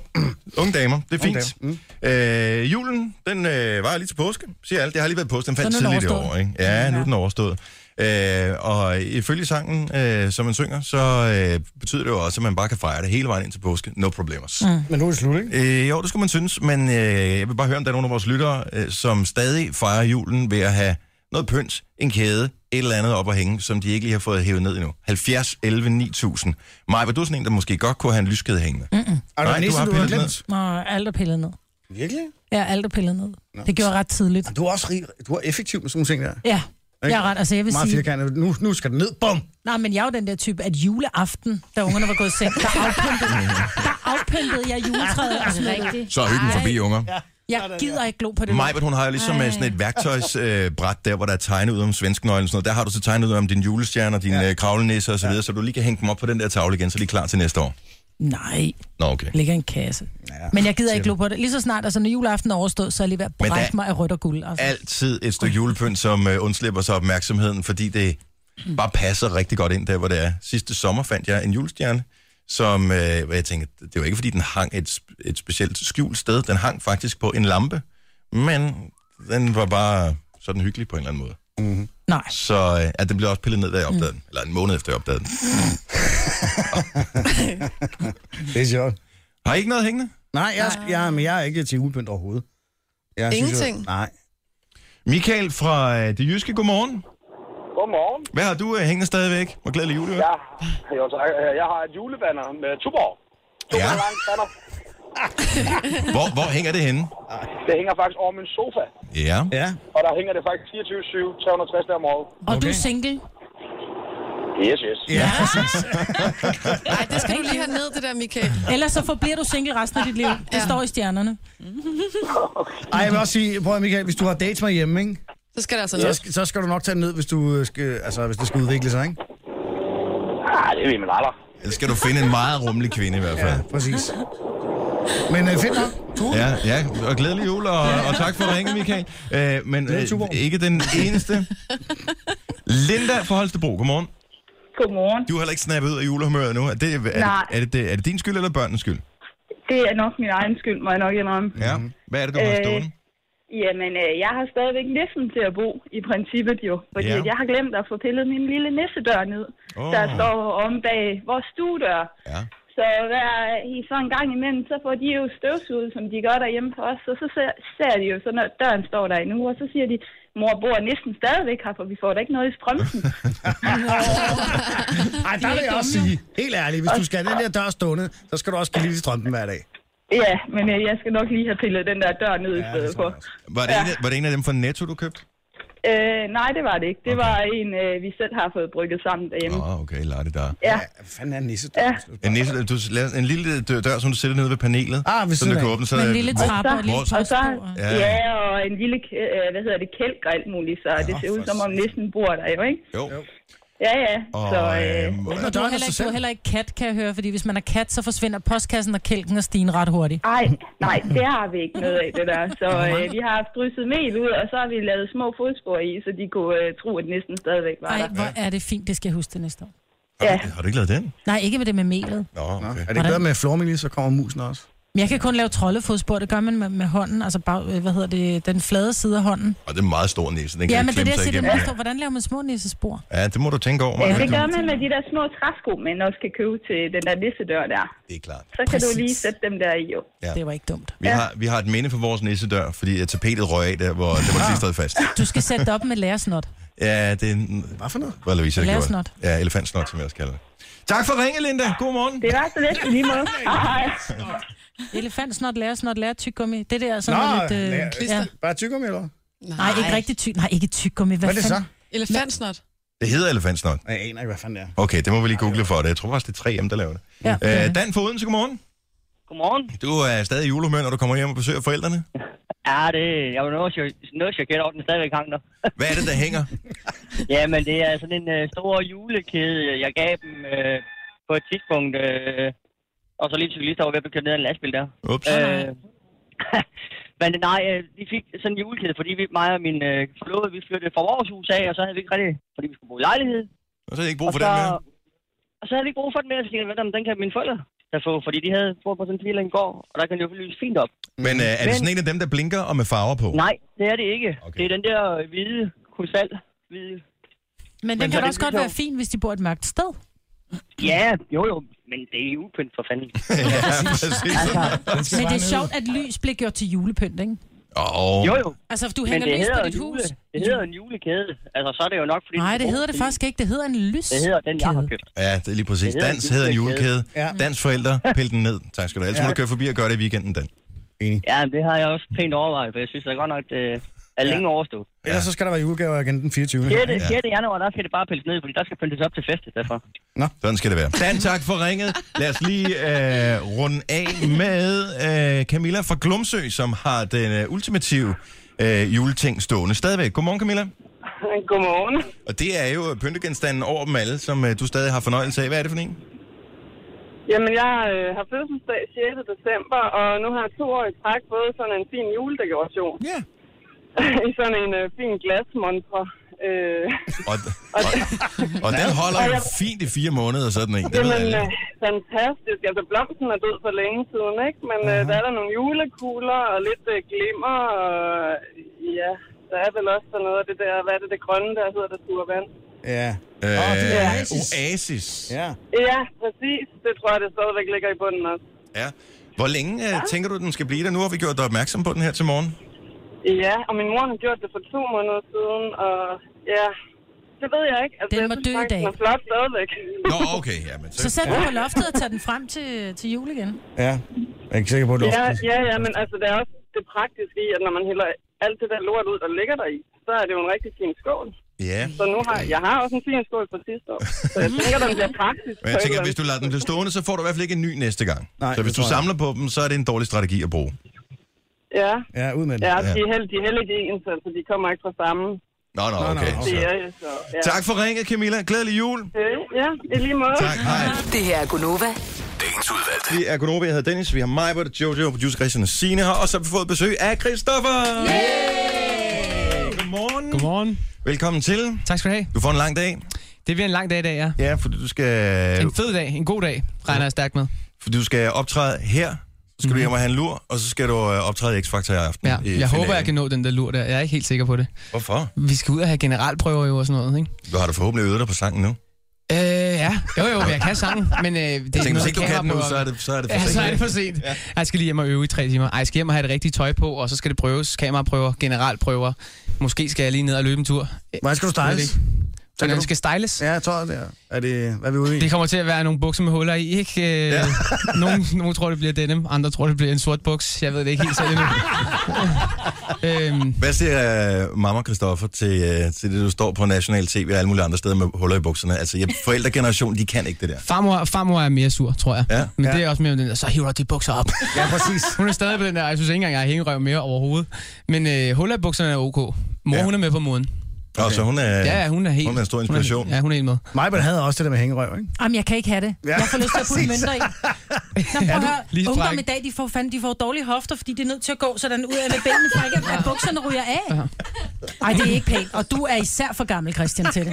S1: unge damer, det er
S2: Unge mm.
S1: fint. Øh, julen, den øh, var lige til påske, siger alle. Det har lige været påske, den fandt
S4: Så nu er den
S1: tidligt i år,
S4: overstået.
S1: ikke? Ja, nu er den overstået. Øh, og ifølge sangen, øh, som man synger, så øh, betyder det jo også, at man bare kan fejre det hele vejen ind til påske. No problemers. Mm.
S2: Men nu er det slut, ikke?
S1: Øh, jo, det skulle man synes, men øh, jeg vil bare høre, om der er nogen af vores lyttere, øh, som stadig fejrer julen ved at have noget pynt, en kæde, et eller andet op at hænge, som de ikke lige har fået hævet ned endnu. 70, 11, 9000. Maja, var du sådan en, der måske godt kunne have en lyskæde hængende? Mm.
S2: Er der
S1: Nej,
S2: en
S1: du
S2: næste,
S1: har
S2: du har
S1: pillet
S2: glemt?
S4: Nå, alt er pillet ned.
S2: Virkelig?
S4: Ja, alt er pillet ned. Det gjorde jeg ret tidligt.
S2: Og Du er også rig, du er effektiv med sådan nogle ting der.
S4: Ja, jeg er ret, altså jeg vil
S2: Meget
S4: sige...
S2: firkantet. Nu, nu skal den ned. Bum!
S4: Nej, men jeg er jo den der type, at juleaften, da ungerne var gået i seng, der afpimpede, der afpimpede jeg juletræet og smed det.
S1: Så er hyggen forbi, unger.
S4: Jeg gider ikke glo på det.
S1: Majbert, hun har jo ligesom Ej. sådan et værktøjsbræt øh, bræt der, hvor der er tegnet ud om svensknøglen og sådan noget. Der har du så tegnet ud om din julestjerne og dine ja. øh, kravlenæsser osv., så, videre, så du lige kan hænge dem op på den der tavle igen, så de er klar til næste år.
S4: Nej,
S1: Nå, okay.
S4: ligger i en kasse.
S2: Ja,
S4: Men jeg gider ikke glo på det. Lige så snart, altså når juleaften er overstået, så er jeg lige ved at
S1: Men
S4: brække
S1: der-
S4: mig af rødt og guld. Altså.
S1: Altid et stykke julepynt, som øh, undslipper sig opmærksomheden, fordi det bare passer rigtig godt ind der, hvor det er. Sidste sommer fandt jeg en julestjerne, som, øh, hvor jeg tænkte, det var ikke fordi, den hang et, sp- et specielt skjult sted. Den hang faktisk på en lampe, men den var bare sådan hyggelig på en eller anden måde.
S4: Nej,
S1: Så øh, at den blev også pillet ned, da jeg opdagede den. Eller en måned efter, jeg opdagede den.
S2: det er sjovt.
S1: Har I ikke noget hængende?
S2: Nej, jeg, er- jeg, men jeg er ikke til julepynt overhovedet. Jeg
S5: Ingenting?
S2: Synes, jeg, nej.
S1: Michael fra øh, Det Jyske, godmorgen.
S10: Godmorgen.
S1: Hvad har du øh, hængende stadigvæk? Hvor glædelig jul, ja.
S10: Ja, jo, tak. Øh, Jeg har et julebanner med Tuborg.
S1: ja.
S10: Lang banner.
S1: Hvor, hvor hænger det henne?
S10: Det hænger faktisk over min sofa,
S1: Ja.
S2: Ja.
S10: og der hænger det faktisk 24-7, 360 dage om året.
S4: og du er single.
S10: Yes, yes.
S2: Ja, præcis.
S5: Ej, det skal du lige have ned, det der, Michael.
S4: Ellers så forbliver du single resten af dit liv. Det
S5: Ja. Mhm.
S4: står i stjernerne.
S2: Ej, jeg vil også sige, prøv at Michael, hvis du har dates med hjemme, ikke?
S5: Så skal der altså
S2: Så,
S5: noget.
S2: skal, så skal du nok tage den ned, hvis, du øh, skal, altså, hvis det skal udvikle sig, ikke?
S10: Ah, det ved man aldrig.
S1: Så skal du finde en meget rummelig kvinde i hvert fald.
S2: Præcis. Men øh, fedt nok. Tue.
S1: Ja, ja. Og glædelig jul, og, og tak for at ringe, Michael. Øh, men
S2: Det
S1: øh,
S2: er Tuborg.
S1: ikke den eneste. Linda fra Holstebro, godmorgen.
S11: Godmorgen.
S1: Du har heller ikke snappet ud af julehumøret nu. Er det, er,
S11: Nej.
S1: det, er, det, det, er det din skyld eller børnenes skyld?
S11: Det er nok min egen skyld, må jeg nok indrømme.
S1: Ja.
S2: Mhm.
S1: Hvad er det, du har
S11: Øh,
S1: stående?
S11: Jamen, øh, jeg har stadigvæk nissen til at bo, i princippet jo. Fordi
S1: Ja.
S11: ja. jeg har glemt at få pillet min lille nissedør ned,
S1: Åh.
S11: oh. der står om bag vores stuedør.
S1: Ja.
S11: Så hver i så en gang imellem, så får de jo støvsuget, som de gør derhjemme for os. Og så ser, ser de jo, så når døren står der endnu, og så siger de, mor bor næsten stadigvæk her, for vi får da ikke noget i strømpen.
S2: Ej, der vil jeg også sige, helt ærligt, hvis du skal have den der dør stående, så skal du også give lidt i strømpen hver dag.
S11: ja, men øh, jeg skal nok lige have pillet den der dør ned ja, i
S2: Ja,
S11: stedet
S2: det tror
S11: for.
S2: jeg også.
S1: Var det, en, af- var det en af dem fra Netto, du købte?
S11: Øh, nej, det var det ikke. Det okay. var en, øh, vi selv har fået brygget sammen derhjemme.
S1: Åh, oh, okay, lad det der.
S11: Ja.
S2: Ja, hvad fanden er en nisse? Ja.
S1: En, nisse, du laver en lille dør, dør, som du sætter nede ved panelet,
S2: Ah, ved
S1: som du
S2: siden
S1: kan
S2: af.
S1: åbne. Så
S4: Med
S1: der-
S4: en lille
S1: Hvor-
S4: trappe og et lille
S1: vores-
S11: Og så,
S4: postbord.
S1: Ja.
S11: ja. ja, og en lille, kæ- øh, hvad hedder det, kælk og alt muligt, så ja, det ser ud
S2: for
S11: som om næsten bor der jo, ikke?
S1: Jo.
S11: Ja, ja.
S1: Og,
S11: så, øh,
S1: øhm,
S2: Åbner
S4: Du har
S2: døren af
S4: heller
S2: sig
S4: ikke, du har
S2: selv.
S4: heller ikke kat, kan jeg høre, fordi hvis man er kat, så forsvinder postkassen og kælken og stigen ret hurtigt.
S11: ej, nej, det har vi ikke noget af, det der. Så øh, vi har haft drysset mel ud, og så har vi lavet små fodspor i, så de kunne øh, tro, at næsten stadigvæk var
S4: Nej,
S11: der.
S4: hvor er det fint, det skal jeg huske det næste år.
S11: Ja,
S1: Har du ikke lavet den?
S4: Nej, ikke med det med melet.
S1: Nå, okay.
S2: Er det ikke bedre med flormelis, så kommer musen også?
S4: Men jeg kan kun lave troldefodspor, det gør man med, med hånden, altså bag, øh, hvad hedder det, den flade side af hånden.
S1: Og det er en meget stor næse, den kan
S4: Ja,
S1: ikke
S4: men det er det,
S1: klemme
S4: jeg
S1: sig
S4: siger, det
S1: igennem.
S4: modstår. Hvordan laver man små nissespor?
S1: Ja, det må du tænke over.
S11: ja,
S1: Maja.
S11: det gør
S1: Du-
S11: man med de der små træsko, man også kan købe til den der nissedør der.
S1: Det er klart.
S11: Så kan
S4: Præcis.
S11: du lige sætte dem der i, jo.
S1: Ja.
S4: Det var ikke dumt.
S1: Vi, har, vi
S2: Ah.
S1: har et minde for vores nissedør, fordi øh, tapetet røg af der, hvor det var sidst stod fast.
S4: Du skal sætte det op med lærersnot.
S1: Ja, det er... en-
S2: Hvad for noget?
S1: Hvad Louise, det
S2: Elefantsnot.
S1: gjorde? Ja, elefantsnot, som jeg også kalder det. Tak for ringe, Linda. God morgen.
S11: Det var så lidt lige måde. Hej.
S4: Elefantsnot, lærersnot, lærertyggummi. Det der er sådan
S2: Nå,
S4: noget lidt... Øh,
S2: lærer-
S4: ja.
S2: bare tykker med, eller hvad?
S4: Nej, ikke rigtig tyk. Nej, ikke tyggummi. Hvad,
S2: Hvad er det
S4: fanden?
S5: Elefantsnot.
S1: Det hedder elefantsnot.
S2: Jeg aner ikke, hvad fanden det er.
S1: Okay, det må vi lige google for det. Jeg tror faktisk, det er 3M, der laver det.
S4: Ja.
S1: Øh, Dan for Odense, godmorgen.
S12: Godmorgen.
S1: Du er stadig i julehumør, når du kommer hjem og besøger forældrene.
S12: Ja, det, jeg var noget, chok- noget chokeret over, at den stadigvæk hang der.
S1: Hvad er det, der hænger?
S12: ja, men det er sådan en øh, stor julekæde, jeg gav dem øh, på et tidspunkt. Øh, og så lige en cyklist, der var ved at blive kørt ned af en lastbil der.
S1: Ups.
S12: Øh, men nej, øh, vi fik sådan en julekæde, fordi vi, mig og min øh, forlovede, vi flyttede fra vores hus af, og så havde vi ikke rigtig, fordi vi skulle bo i lejlighed.
S1: Og så havde I ikke brug
S12: Og
S1: for
S12: så,
S1: den mere.
S12: Og så havde vi ikke brug for den mere, så tænkte jeg, "Vent, den kan mine forældre der få, fordi de havde boet på sådan en firling gård, og der kan det jo lyse fint op.
S1: Men øh, er det sådan en af dem, der blinker og med farver på?
S12: Nej, det er det ikke. Okay. Det er den der øh, hvide krystal. Hvide.
S4: Men
S12: Men
S4: den
S12: så
S4: kan da
S12: det
S4: også godt
S12: lyser
S4: være
S12: jo.
S4: fin, hvis de bor et mørkt sted.
S12: Ja, jo jo, men det er upynt for fanden.
S1: ja, præcis.
S12: Altså,
S4: Men det er sjovt, at lys bliver gjort til julepynt, ikke?
S1: Oh.
S12: Jo jo.
S4: Altså, du
S12: Men
S4: hænger
S12: det
S4: lys
S12: hedder
S4: på dit
S12: en
S4: hus.
S12: Jule, det hedder en julekæde. Altså, så er det jo nok, fordi...
S4: Nej, det hedder det faktisk ikke. Det hedder en lys.
S12: Det hedder den, jeg har købt.
S1: Ja, det er lige præcis.
S12: Det hedder
S1: Dans hedder en julekæde.
S12: Ja.
S1: Dans forældre, pil den ned. Tak skal du have. Ellers må
S12: Ja.
S1: du køre forbi og gøre det i weekenden, Dan.
S12: Ja, men det har jeg også pænt overvejet, for jeg synes, det er godt nok, det er længe overstået.
S2: Ellers så skal der være julegaver igen den 24.
S12: 6. 6. januar, der skal det bare pilles ned, fordi der skal pyntes op til fest i stedet for.
S1: Nå. Sådan skal det være. Dan, tak for ringet. Lad os lige øh, runde af med øh, Camilla fra Glumsø, som har den øh, ultimative øh, juleting stående stadigvæk. Godmorgen, Camilla.
S13: Godmorgen.
S1: Og det er jo pyntegenstanden over dem alle, som øh, du stadig har fornøjelse af. Hvad er det for en?
S13: Jamen, jeg øh, har fødselsdag 6. december, og nu har jeg to år i træk fået sådan en fin juledekoration.
S1: Ja.
S13: I sådan en øh, fin glasmontre. Øh,
S1: Og, og, og den holder jo fint i fire måneder, sådan en. Det ved
S13: jamen,
S1: alle.
S13: øh, fantastisk. Altså, blomsten er død for længe siden, ikke? Men øh, der er der nogle julekugler og lidt øh, glimmer, og ja, der er vel også sådan noget af det der, hvad er det, det grønne der hedder, der suger vand.
S2: Ja.
S1: Øh,
S2: Oasis.
S1: Oasis.
S2: Ja.
S13: Ja, præcis. Det tror jeg, det stadigvæk ligger i bunden også.
S1: ja. Hvor længe øh, tænker du, den skal blive der? Nu har vi gjort dig opmærksom på den her til morgen.
S13: Ja, og min mor har gjort det for to måneder siden, og ja, det ved jeg ikke. Altså,
S4: Den
S13: jeg
S4: må
S13: synes
S4: dø i
S13: faktisk,
S4: dag.
S13: Den er flot stadigvæk.
S1: Nå, okay. Ja, men,
S4: Så sæt den på loftet og tag den frem til, til jul igen.
S2: Ja. Jeg er ikke sikker på, at du
S13: Ja, ja, ja, men altså, der er også det praktiske i, at når man hælder alt det der lort ud, der ligger der i, så er det jo en rigtig fin skål.
S1: Ja.
S13: Så nu har jeg har også en fin skål fra sidste år, så jeg tænker, den bliver praktisk.
S1: Men jeg tænker, hvis du lader den blive stående, så får du i hvert fald ikke en ny næste gang.
S2: Nej,
S1: Nej, så hvis
S2: det
S1: du
S2: tror jeg.
S1: samler på dem, så er det en dårlig strategi at bruge.
S13: Ja,
S2: Ja, ud med den.
S13: ja de er heldige, de er heldige ens, altså, de kommer ikke fra samme
S1: Nå, nå, okay. Så.
S13: serie, så ja.
S1: Tak for ringet, Camilla. Glædelig jul.
S13: Øh, Ja, i lige måde.
S1: Tak, hej.
S7: Det her er Gunova.
S1: Vi er Gunova, jeg hedder Dennis, vi har Majbert, Jojo, producer Christian og Signe her, og så har vi fået besøg af Christoffer. Yeah! Godmorgen.
S14: Godmorgen.
S1: Velkommen til.
S14: Tak skal du have.
S1: Du får en lang dag.
S14: Det bliver en lang dag i dag, ja.
S1: Ja, fordi du skal...
S14: En fed dag, en god dag, regner jeg stærkt med.
S1: Fordi du skal optræde her, så skal mm-hmm. du hjem og have en lur, og så skal du øh, optræde i X-Factor i
S14: Mhm. Ja,
S1: aften. i
S14: jeg
S1: finalen.
S14: håber, jeg kan nå den der lur der. Jeg er ikke helt sikker på det.
S1: Hvorfor?
S14: Vi skal ud og have generalprøver jo og sådan noget, ikke?
S1: Du har da forhåbentlig øvet dig på sangen nu.
S14: Øh, ja. Jo, jo, jeg kan sangen, men øh, det er
S1: Jeg tænker, hvis
S14: noget
S1: ikke du kan den nu,
S14: kameraprøver.
S1: så er det, så er det for
S14: Ja,
S1: sent.
S14: så er det for sent. Ja. Jeg skal lige hjem og øve i tre timer. Ej, jeg skal hjem og have det rigtige tøj på, og så skal det prøves. Kameraprøver, generalprøver. Måske skal jeg lige ned og løbe en tur.
S2: Hvordan skal du
S14: Jeg ved det
S2: styles?
S14: ikke.
S2: Tænker du?
S14: Hvordan skal styles?
S2: Ja, tøjet der. Er det, hvad er vi ude i?
S14: Det kommer til at være nogle bukser med huller i, ikke? Ja. Nogle, nogle tror, det bliver denim, andre tror, det bliver en sort buks. Jeg ved det ikke helt selv endnu. øhm,
S1: Hvad siger uh, mamma Christoffer til, uh, til det, du står på national tv og alle mulige andre steder med huller i bukserne? Altså, jeg, forældregenerationen, de kan ikke det der.
S14: Farmor, farmor er mere sur, tror jeg.
S1: Ja.
S14: Men
S1: Ja.
S14: det er også mere om den der, så hiver du de bukser op.
S2: Ja, præcis.
S14: hun er stadig på den der, og jeg synes ikke engang, jeg har hængerøv mere overhovedet. Men øh, huller i bukserne er ok. Mor, ja. hun er med på moden.
S1: Okay. Og så hun øh, er,
S14: Ja, hun er helt-
S1: hun er en stor
S14: hun er-
S1: inspiration.
S14: ja, hun er en med.
S2: Majbert havde også det der med hængerøv, ikke?
S4: Jamen, jeg kan ikke have det.
S2: Ja,
S4: Ja, jeg får lyst til at putte
S2: præcis.
S4: mønter i. Nå, prøv
S2: Er
S4: at
S2: du lige
S4: høre.
S2: fræk?
S4: Ungdom i dag, de får, fandme, de får dårlige hofter, fordi de er nødt til at gå sådan ud af med benene, for ikke at- at bukserne ryger af. Ej, det er ikke pænt. Og du er især for gammel, Christian, til det.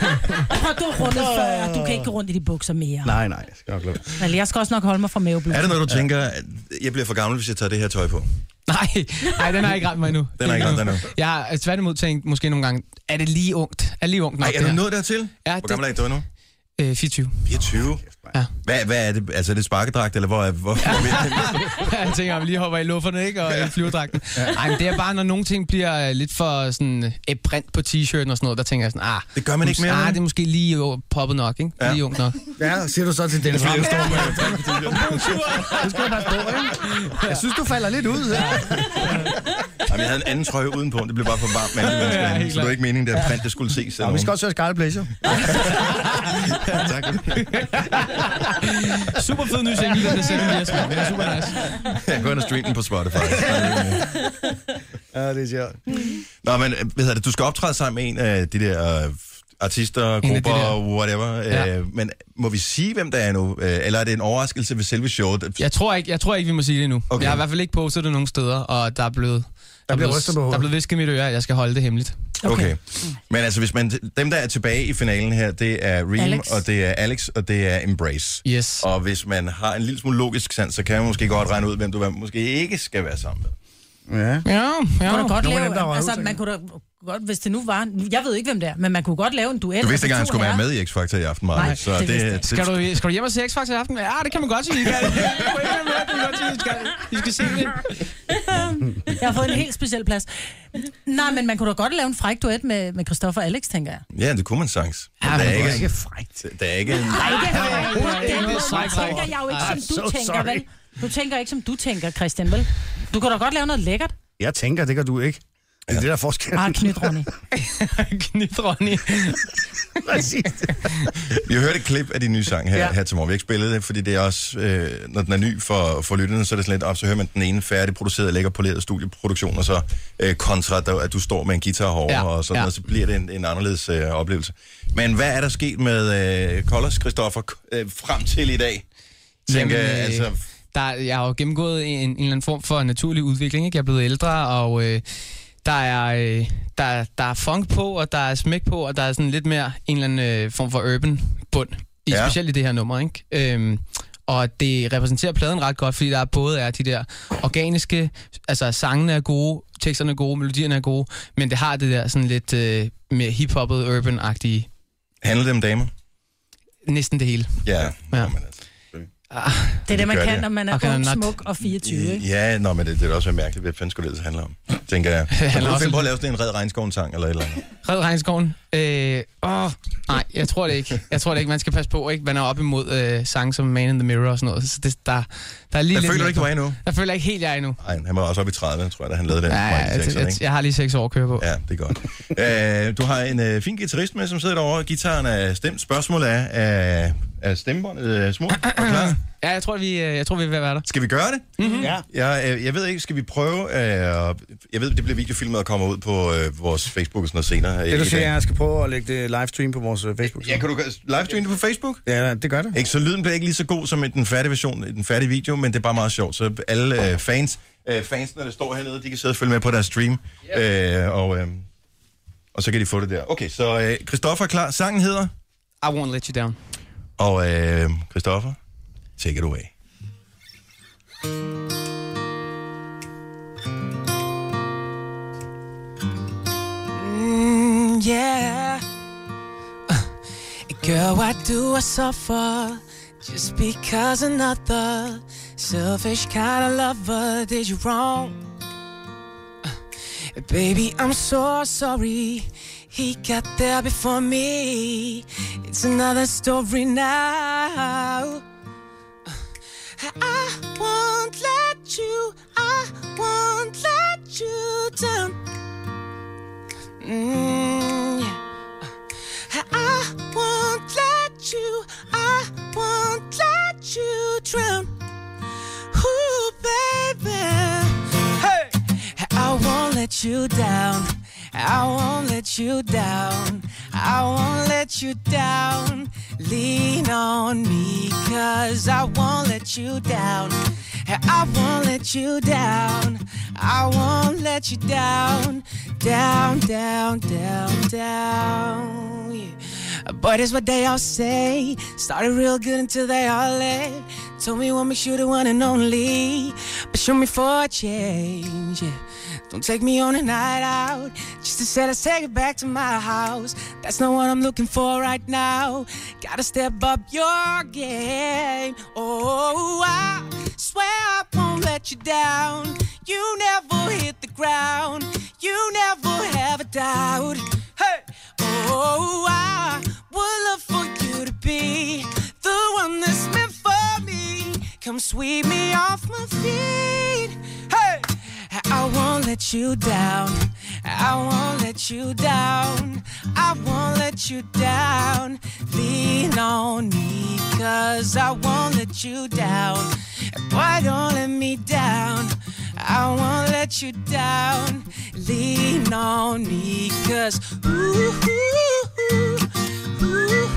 S4: Prøv, du har rundet før, og du kan ikke gå rundt i de bukser mere.
S2: Nej, nej, jeg skal nok lade
S4: Men jeg skal også nok holde mig fra maveblod.
S1: Er det noget, du tænker, at jeg bliver for gammel, hvis jeg tager det her tøj på?
S14: Nej, nej, den har ikke ramt mig endnu.
S1: Den har ikke ramt dig endnu.
S14: Jeg har tværtimod tænkt måske nogle gange, er det lige ungt? Er det lige ungt nok?
S1: Ej, er
S14: det
S1: du
S14: her?
S1: nået dertil?
S14: Ja,
S1: Hvor gammel er I, du er nu?
S14: Øh, 24.
S1: 24?
S14: Ja.
S1: Hvad, hvad er det? Altså, er det sparkedragt, eller hvor er, hvor,
S14: jeg tænker, om vi lige hopper i lufferne, ikke? Og i flyverdragten. Nej, men det er bare, når nogle ting bliver øh, lidt for sådan et print på t-shirten og sådan noget, der tænker jeg sådan, ah,
S1: det gør man ikke mere nu.
S14: Ah, det er måske lige øh, poppet nok, ikke? Ja. Lige ung nok.
S2: Ja, siger du så til Dennis Ram. Det skal du passe på, ikke? Jeg synes, du falder lidt ud. Ja.
S1: Jamen, jeg havde en anden trøje udenpå, det blev bare for varmt med alle mennesker.
S2: Ja,
S1: Ja,
S2: helt
S1: så det var ikke meningen, at print, det skulle ses.
S2: Nå, vi skal også høre Scarlet Pleasure.
S1: tak.
S14: Super fed ny single, den der sender vi os med. Det er super nice.
S1: Jeg går ind og stream den på Spotify.
S2: ja, det er sjovt.
S1: Nå, men øh, hvad hedder det? Du skal optræde sammen med en af de der øh, artister,
S14: En af de
S1: grupper,
S14: der.
S1: whatever.
S14: Ja.
S1: Ja. Men må vi sige, hvem der er nu? Øh, Eller er det en overraskelse ved selve showet?
S14: Jeg tror ikke, jeg tror ikke vi må sige det nu. Okay. Jeg har i hvert fald ikke postet det nogen steder, og der er blevet... Der,
S1: bliver
S14: blevet,
S1: rystet på hovedet.
S14: der er blevet visket i mit øre, at jeg skal holde det hemmeligt.
S1: Okay. okay. Men altså, hvis man, dem, der er tilbage i finalen her, det er Reem,
S14: Alex.
S1: Alex. og det er Alex, og det er Embrace.
S14: Yes.
S1: Og hvis man har en lille smule logisk sans, så kan man måske godt regne ud, hvem du måske ikke skal være sammen med.
S2: Ja.
S14: Ja,
S4: Man kunne da godt
S1: Nogle af
S4: lave,
S1: dem, der var
S4: altså,
S1: ude,
S4: man kunne da godt, hvis det nu var, jeg ved ikke, hvem det er, men man kunne godt lave en duel.
S1: Du vidste ikke, at
S4: af de
S1: han
S4: to
S1: skulle være
S4: herrer.
S1: med i X-Factor i aften, Maja.
S4: Nej,
S1: så
S4: det
S1: det,
S4: vidste
S1: det,
S4: jeg
S1: det,
S14: Skal du, skal du hjem og se X-Factor i aften? Ja, det kan man godt sige. I kan- I kan gå hjem og høre, det kan godt sige, I skal- I skal se det.
S4: Jeg har fået en helt speciel plads. Nej, men man kunne da godt lave en fræk duet med, med Christoffer og Alex, tænker jeg.
S1: Ja, det kunne man sagts. Ja,
S2: men
S1: der er
S2: det var
S1: ikke,
S2: ikke
S1: frækt. Der er ikke... en-
S4: Nej, det er
S2: Ej,
S4: ikke
S2: det er
S4: Dennis,
S2: så
S4: Nu tænker
S2: sorry.
S4: jeg jo
S2: I'm
S4: ikke, som du
S2: Ah, so
S4: tænker,
S2: sorry.
S4: vel? Du tænker ikke, som du tænker, Christian, vel? Du kan da godt lave noget lækkert.
S2: Jeg tænker, det kan du ikke. Det er det, der er forskellen.
S4: Ah, knyt, Ronny.
S14: Knyt, Ronny.
S2: Præcis.
S1: Vi har hørt et klip af din nye sang her,
S2: Ja.
S1: ja. her til morgen. Vi har ikke spillet det, fordi det er også, øh, når den er ny for, for lytterne, så er det sådan lidt op, så hører man den ene færdig produceret, lækker poleret studieproduktion, og så øh, kontra, der, at du står med en guitar herovre,
S14: Ja,
S1: ja. og sådan
S14: ja.
S1: ja. noget, så bliver det en, en anderledes øh, oplevelse. Men hvad er der sket med øh, Kollers, Christoffer, k- øh, frem til i dag? Tænker,
S14: Jamen, øh,
S1: Jamen, altså,
S14: der, jeg har jo gennemgået en, en eller anden form for naturlig udvikling. Ikke? Jeg er blevet ældre, og øh, der, er, øh, der, der er funk på, og der er smæk på, og der er sådan lidt mere en eller anden øh, form for urban bund. I, ja.
S1: Ja.
S14: Specielt i det her nummer. Ikke? Øhm, og det repræsenterer pladen ret godt, fordi der er både er de der organiske, altså sangene er gode, teksterne er gode, melodierne er gode, men det har det der sådan lidt øh, mere hiphoppet, urban-agtige,
S1: handler det om damer?
S14: næsten det hele.
S1: Ja.
S14: Ja.
S4: Det er det, man
S1: gør
S4: kan,
S1: det.
S4: når man
S14: Okay,
S4: er ung,
S14: not-
S4: smuk og 24, ikke?
S1: Ja, nå, men det, det er da også være mærkeligt. Hvad fanden skulle det ellers handle om? Tænker jeg.
S14: handler
S1: Så du
S14: også
S1: finde på at
S14: lidt-
S1: lave sådan en red regnskoven-sang eller et eller andet.
S14: Red regnskoven. Øh, åh, nej, jeg tror det ikke. Jeg tror det ikke. Man skal passe på, ikke? Man er op imod øh, sange som Man in the Mirror og sådan noget. Så det, der, der er lige
S1: Jeg
S14: lidt
S1: føler
S14: mere
S1: ikke, du
S14: på.
S1: er endnu.
S14: Jeg føler ikke helt, jeg er endnu.
S1: Ej, han var også oppe i 30, tror jeg, da han lavede den.
S14: Ja, ja,
S1: Michael
S14: jeg,
S1: Jackson,
S14: jeg,
S1: ikke?
S14: jeg, har lige seks år at køre på.
S1: Ja, det er godt. øh, du har en øh, fin guitarist med, som sidder derovre. Gitaren er stemt. Spørgsmålet er, er, er stemmebåndet øh, smurt og klar?
S14: Ja, jeg tror, vi, øh, jeg tror, vi er ved at være der.
S1: Skal vi gøre det?
S14: Mm-hmm.
S2: Ja.
S1: Jeg, øh, jeg ved ikke, skal vi prøve... Øh, og- jeg ved, det bliver videofilmet og kommer ud på øh, vores Facebook og sådan noget senere. øh,
S2: Det,
S1: i
S2: du siger,
S1: dag.
S2: jeg skal prøve at lægge det livestream på vores øh, Facebook.
S1: Ja, kan du livestream det på Facebook?
S2: Ja, det gør det.
S1: Ikke, så lyden bliver ikke lige så god som i den færdige version, i den færdige video, men det er bare meget sjovt. Så alle øh, fans, øh, fansene, der står hernede, de kan sidde og følge med på deres stream. Øh, og, øh, og så kan de få det der. Okay, så øh, Christoffer er klar. Sangen hedder...
S14: I won't let you down.
S1: Og øh, Christoffer, take it away.
S8: Mm, yeah. Uh, Girl, why do I suffer just because another selfish kind of lover did you wrong? Uh, Baby, I'm so sorry. He got there before me. It's another story now. Uh, I won't let you, I won't let you down. Mm, yeah. I won't let you, I won't let you drown. Ooh, baby. Hey! I won't let you down. I won't let you down. I won't let you down. Lean on me, cause I won't let you down. I won't let you down. I won't let you down. Down, down, down, down. Yeah. But it's what they all say. Started real good until they all left. Told me we'll make sure the one and only. But show me for a change. Yeah. Don't take me on a night out. Just to say let's take it back to my house. That's not what I'm looking for right now. Gotta step up your game. Oh, I swear I won't let you down. You never hit the ground. You never have a doubt. Hey, oh, I would love for you to be the one that's meant for me. Come sweep me off my feet. Hey, I won't let you down. I won't let you down. I won't let you down. Lean on me, cause I won't let you down. Boy, don't let me down. I won't let you down. Lean on me, cause ooh, ooh, ooh, ooh,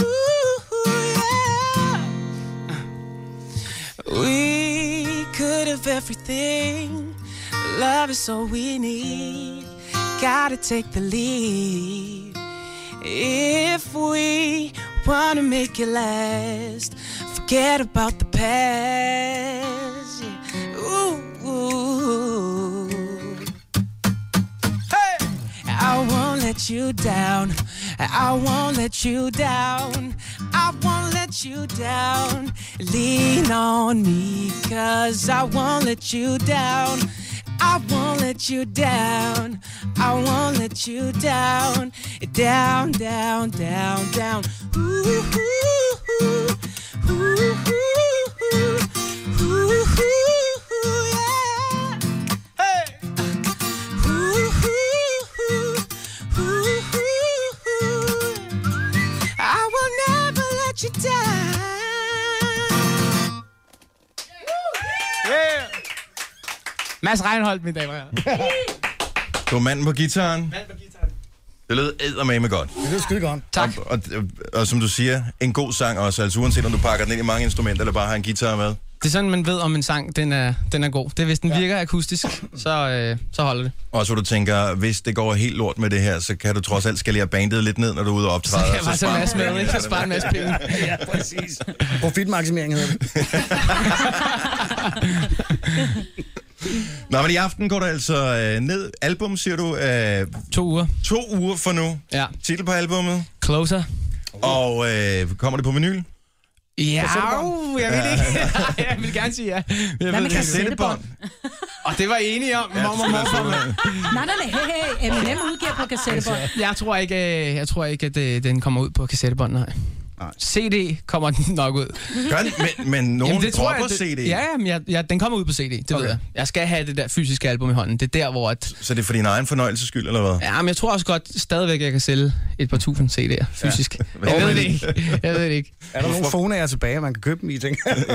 S8: ooh, ooh, yeah. We could have everything. Love is all we need. Gotta take the lead. If we wanna make it last, forget about the past. Yeah. Ooh. Hey! I won't let you down. I won't let you down. I won't let you down. Lean on me, cause I won't let you down. I won't let you down. I won't let you down. Down, down, down, down. Ooh, ooh, ooh, ooh, ooh, ooh, ooh, yeah. Hey. Ooh, ooh, ooh, ooh. I will never let you down.
S6: Yeah.
S14: Mads Reinholdt, mine damer og herrer.
S1: Du var manden på gitaren. Manden på gitaren. Det lød eddermame godt.
S2: Det er skide godt.
S1: Tak. Og, og, og, og, som du siger, en god sang også, altså uanset om du pakker den ind i mange instrumenter, eller bare har en guitar med.
S14: Det er sådan, man ved, om en sang den er, den er god. Det er, hvis den ja. virker akustisk, så, øh, så holder det.
S1: Og så du tænker, hvis det går helt lort med det her, så kan du trods alt skalere bandet lidt ned, når du er ude og optræde. Så
S14: kan jeg bare tage en masse med, ikke? Og spare en masse penge.
S2: ja, præcis. Profitmaksimering hedder det.
S1: Nå, men i aften går der altså øh, ned. Album, siger du? Øh,
S14: to uger.
S1: To uger for nu.
S14: Ja.
S1: Titel på albummet.
S14: Closer.
S1: Og øh, kommer det på vinyl?
S14: Ja,
S1: Kassettebånd.
S14: jeg ved det ikke. jeg vil gerne sige ja. Jeg ved
S1: med
S14: det ikke.
S1: kassettebånd?
S14: Og det var jeg enige om.
S1: Ja,
S14: Ja,
S1: det skulle være sådan noget.
S3: Nej, nej, nej, hey, hey, Eminem
S4: M&M
S3: udgiver på kassettebånd.
S14: jeg tror ikke, øh, jeg tror ikke at øh, den kommer ud på kassettebånd, nej. CD kommer den nok ud.
S1: Gør den? Men- men nogen dropper
S14: det,
S1: CD.
S14: Ja, ja, men jeg, ja, den kommer ud på CD, det okay.
S1: Okay.
S14: ved jeg. Jeg skal have det der fysiske album i hånden. Det er der, hvor... At,
S1: Så det er for din egen fornøjelses skyld, eller hvad?
S14: ja, men jeg tror også godt stadigvæk, jeg kan sælge et par tusind CD'er fysisk. Ja. Jeg ved det ikke. Jeg ved det ikke.
S2: Er der nogle fonager tilbage, man kan købe dem i, tænker jeg?
S1: Ja,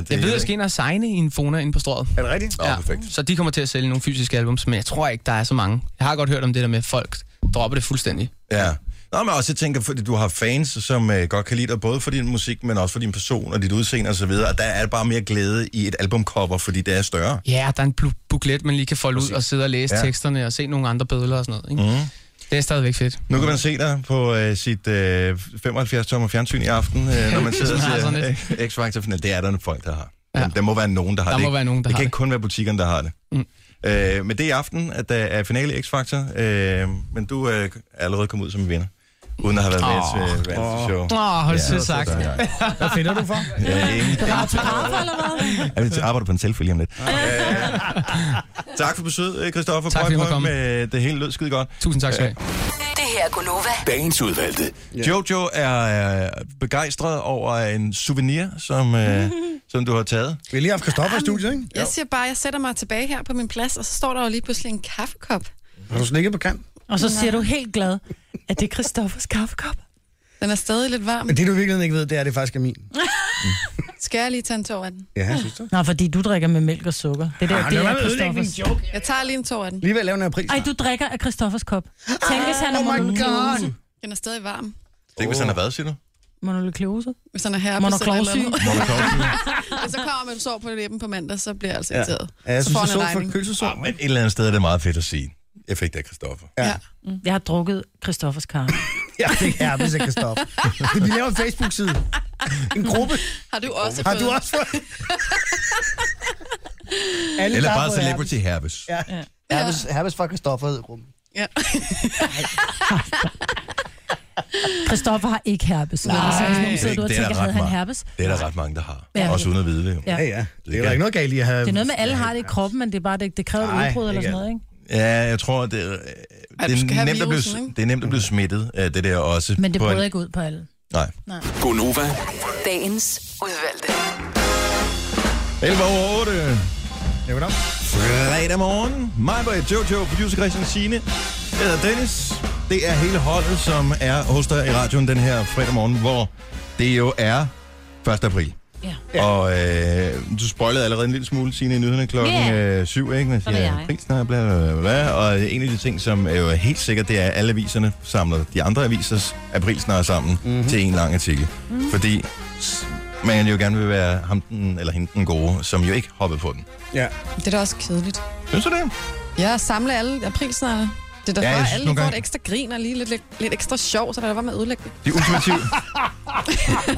S1: det
S14: jeg ved, jeg skal ind og signe i en Fona inde på strået.
S2: Er det rigtigt?
S14: Ja, så de kommer til at sælge nogle fysiske albums, men jeg tror ikke, der er så mange. Jeg har godt hørt om det der med, at folk dropper det fuldstændig.
S1: Ja. Nå, men også jeg tænker, fordi du har fans, som øh, godt kan lide dig, både for din musik, men også for din person og dit udseende osv., og der er bare mere glæde i et albumcover, fordi det er større.
S14: Ja, der er en blu- buklet, man lige kan folde ud og sidde og læse
S1: Ja.
S14: ja. teksterne og se nogle andre billeder og sådan noget. Ikke?
S1: Mhm.
S14: Mm. Det er stadigvæk fedt.
S1: Nu kan man se dig på øh, sit øh, 75-tommer fjernsyn i aften, øh, når man sidder og
S14: Som har sådan
S1: ser øh, X-Factor-final. Det er der folk, der har. Ja. Der må være nogen, der har
S14: Der
S1: det.
S14: må
S1: ikke?
S14: være nogen, der
S1: det
S14: har
S1: kan
S14: det.
S1: ikke kun være butikkerne, der har det. Mm. Øh, men det er i aften, at der er finale i X-Factor, øh, men du øh, er allerede kommet ud som vinder, uden at have været
S14: Åh.
S1: med til øh, reality show.
S14: Åh, hold
S1: Ja,
S14: sødt sagt.
S1: sådan er det.
S2: Hvad finder du for?
S1: Ja, ingen- Jeg vil- arbejder på en selfie lige om lidt. Øh, tak for besøget, Kristoffer. Tak
S14: fordi I måtte komme.
S1: Med øh, det hele lød skide godt. Øh,
S14: Tusind tak skal I
S7: Det her er Gunova.
S1: Dagens udvalgte. Yeah. Jojo er øh, begejstret over en souvenir, som, øh, som du har taget. Ah.
S2: Vi har lige haft Kristoffer i studiet, ikke?
S5: Jeg siger bare, at jeg sætter mig tilbage her på min plads, og så står der jo lige pludselig en kaffekop.
S2: Har du slikket på kant?
S4: Og så siger du helt glad, at det er Christoffers kaffekop.
S5: Den er stadig lidt varm.
S2: Men det, du virkelig ikke ved, det er, at det faktisk er min.
S5: Skal jeg lige tage en tår af den?
S2: Ja, jeg synes det.
S4: Nå, fordi du drikker med mælk og sukker. Det der,
S2: Ah,
S4: det
S2: lad
S4: er
S2: være med at ødelægge min
S4: Christoffers.
S2: joke.
S5: Jeg tager lige en tår af den.
S2: Lige ved at lave den her pris.
S4: Ej, du drikker af Christoffers kop. Tænkes han er
S2: oh my
S4: monolukleose.
S5: Den er stadig varm.
S1: Det er ikke, hvis han har været, siger du?
S4: Monolukleose?
S5: Hvis han er her
S4: Monoklausyg.
S5: Hvis så kommer man sår på læben på mandag, så bliver jeg altså
S1: Ja.
S5: irriteret.
S1: Ja, jeg
S5: så
S1: synes,
S5: får
S1: jeg
S5: han en
S1: så for
S5: regning.
S1: Men et eller andet sted er det meget fedt at sige. Jeg fik det af Christoffer.
S2: Ja.
S4: Mm. Jeg har drukket Christoffers kaffe.
S2: Ja, det er hvis jeg kan stoppe. Vi laver en Facebook-side. En gruppe.
S5: Har du også
S2: Har
S5: fået?
S2: du også fået? Alle,
S1: Eller
S2: der har
S1: bare
S2: fået
S1: Celebrity Herpes.
S2: Ja. Herpes, herpes fra Christoffer hed rummet.
S5: Ja.
S4: Christoffer har ikke herpes. Nej, så hvis nogen sidder du og
S1: det er
S4: tænker,
S1: der
S4: havde
S1: ret
S4: han
S1: mange.
S4: herpes?
S1: Det er der ret mange, der har.
S4: Ja.
S1: Også uden at vide det. jo.
S4: Ja. Ja, ja.
S2: Det er der ikke noget galt i at have...
S4: Det er noget med, alle har det i kroppen, men det, er bare, det, det kræver
S1: Nej,
S4: et udbrud eller
S1: ikke
S4: sådan noget, ikke?
S1: Ja, jeg tror, det er, øh,
S4: Ej, du
S1: det
S4: skal
S1: er,
S4: have
S1: nemt, at blive,
S4: virussen, ikke?
S1: det er nemt at blive smittet af det der også.
S4: Men det
S1: på en-
S4: bryder ikke ud på alle.
S1: Nej. Gonova.
S7: Dagens udvalgte.
S1: 11 over 8.
S2: Ja, goddag.
S1: Fredag morgen. Mig, Britt, Jojo, producer Christian Sine. Jeg hedder Dennis. Det er hele holdet, som er hos dig i radioen den her fredag morgen, hvor det jo er 1. april. Ja. Og øh, du spoilede allerede en lille smule, Signe, i nyhederne klokken
S15: Ja.
S1: yeah. 7, ikke? Men
S15: Sådan er
S1: ja,
S15: jeg.
S1: prisen er bla, bla, bla, bla. Og en af de ting, som er jo helt sikkert, det er, at alle aviserne samler de andre avisers aprilsnare sammen mm-hmm. til en lang artikel.
S15: Mhm.
S1: Mm. Fordi s- man jo gerne vil være ham den, eller hende den gode, som jo ikke hoppede på den.
S2: Ja.
S5: Det er da også kedeligt.
S1: Synes du det?
S5: Ja, samle alle aprilsnare. Det er
S1: Ja,
S5: derfor,
S1: jeg
S5: ja,
S1: synes
S5: alle
S1: nogle
S5: får
S1: gange-
S5: et ekstra grin og lige lidt, lidt, lidt ekstra sjov, så der er bare med at ødelægge det.
S1: De ultimative,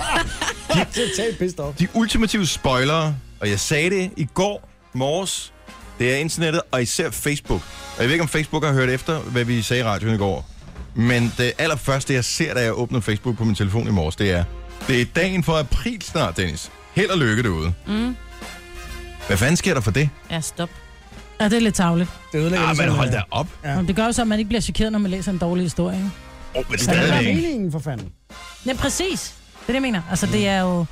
S2: Totalt pissed off.
S1: de ultimative spoilere, og jeg sagde det i går morges, det er internettet, og især Facebook. Og jeg ved ikke, om Facebook har hørt efter, hvad vi sagde i radioen i går. Men det allerførste, jeg ser, da jeg åbner Facebook på min telefon i morges, det er, det er dagen for april snart, Dennis. Held og lykke derude.
S3: Mm.
S1: Hvad fanden sker der for det?
S3: Ja, stop.
S4: Ja, det er lidt tavligt.
S2: Det ødelægger øh,
S1: Ah, men hold da op.
S4: Ja. Det gør jo så, at man ikke bliver chokeret, når man læser en dårlig historie. Ikke?
S1: Oh, men
S4: Så det er
S2: Hvad er
S1: stadigvæk.
S2: meningen for fanden?
S4: Ja, præcis. Det er det, jeg mener. Altså, det
S1: Mm.
S4: er jo...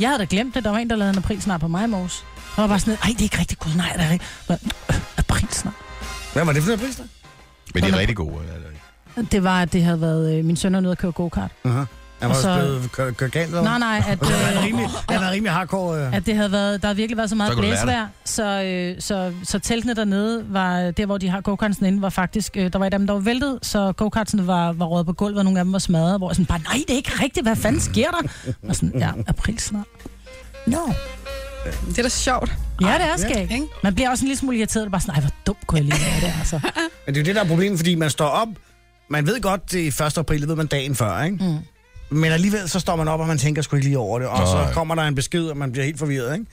S4: Jeg havde da glemt det. Der var en, der lavede en aprilsnar på mig i morges. Der var bare sådan, nej, det er ikke rigtigt. Gud, nej, det er ikke. Men, øh, Aprilsnar.
S2: Hvad var det for en pris, der?
S1: Men de er rigtig gode. Eller?
S4: Det var, at det havde været øh, min søn er nede at køre go-kart.
S2: Uh-huh. Jeg var
S4: Og
S2: også
S4: så-
S2: blevet kørt kørt galt over.
S4: Nej, nej, at,
S2: Jeg har været
S4: øh,
S2: rimelig, jeg har været rimelig hardcore. Øh.
S4: At det havde været, der havde virkelig været så
S2: Så
S4: meget
S2: kunne du lære
S4: blæsvejr, så, øh, så, så teltene dernede var, øh, der hvor de har go-kartsen inde, var faktisk, øh, der var et af dem, der var væltet, så go-kartsen var, var røget på gulvet, og nogle af dem var smadret, hvor jeg sådan bare, nej, det er ikke rigtigt, hvad fanden sker der? Og sådan, ja, aprilsnar. Nå. No.
S5: Det er da sjovt.
S4: Ja, det er skægt. ikke? Man bliver også en lille smule irriteret, og bare sådan, nej, hvor dum kunne jeg lige være det, altså.
S2: Men det er jo det, der er problemet, fordi man står op. Man ved godt, det er 1. april, det ved man dagen før, ikke?
S4: Mm.
S2: Men alligevel så står man op, og man tænker sgu ikke lige over det. Og
S1: Nej.
S2: så kommer der en besked, og man bliver helt forvirret, ikke?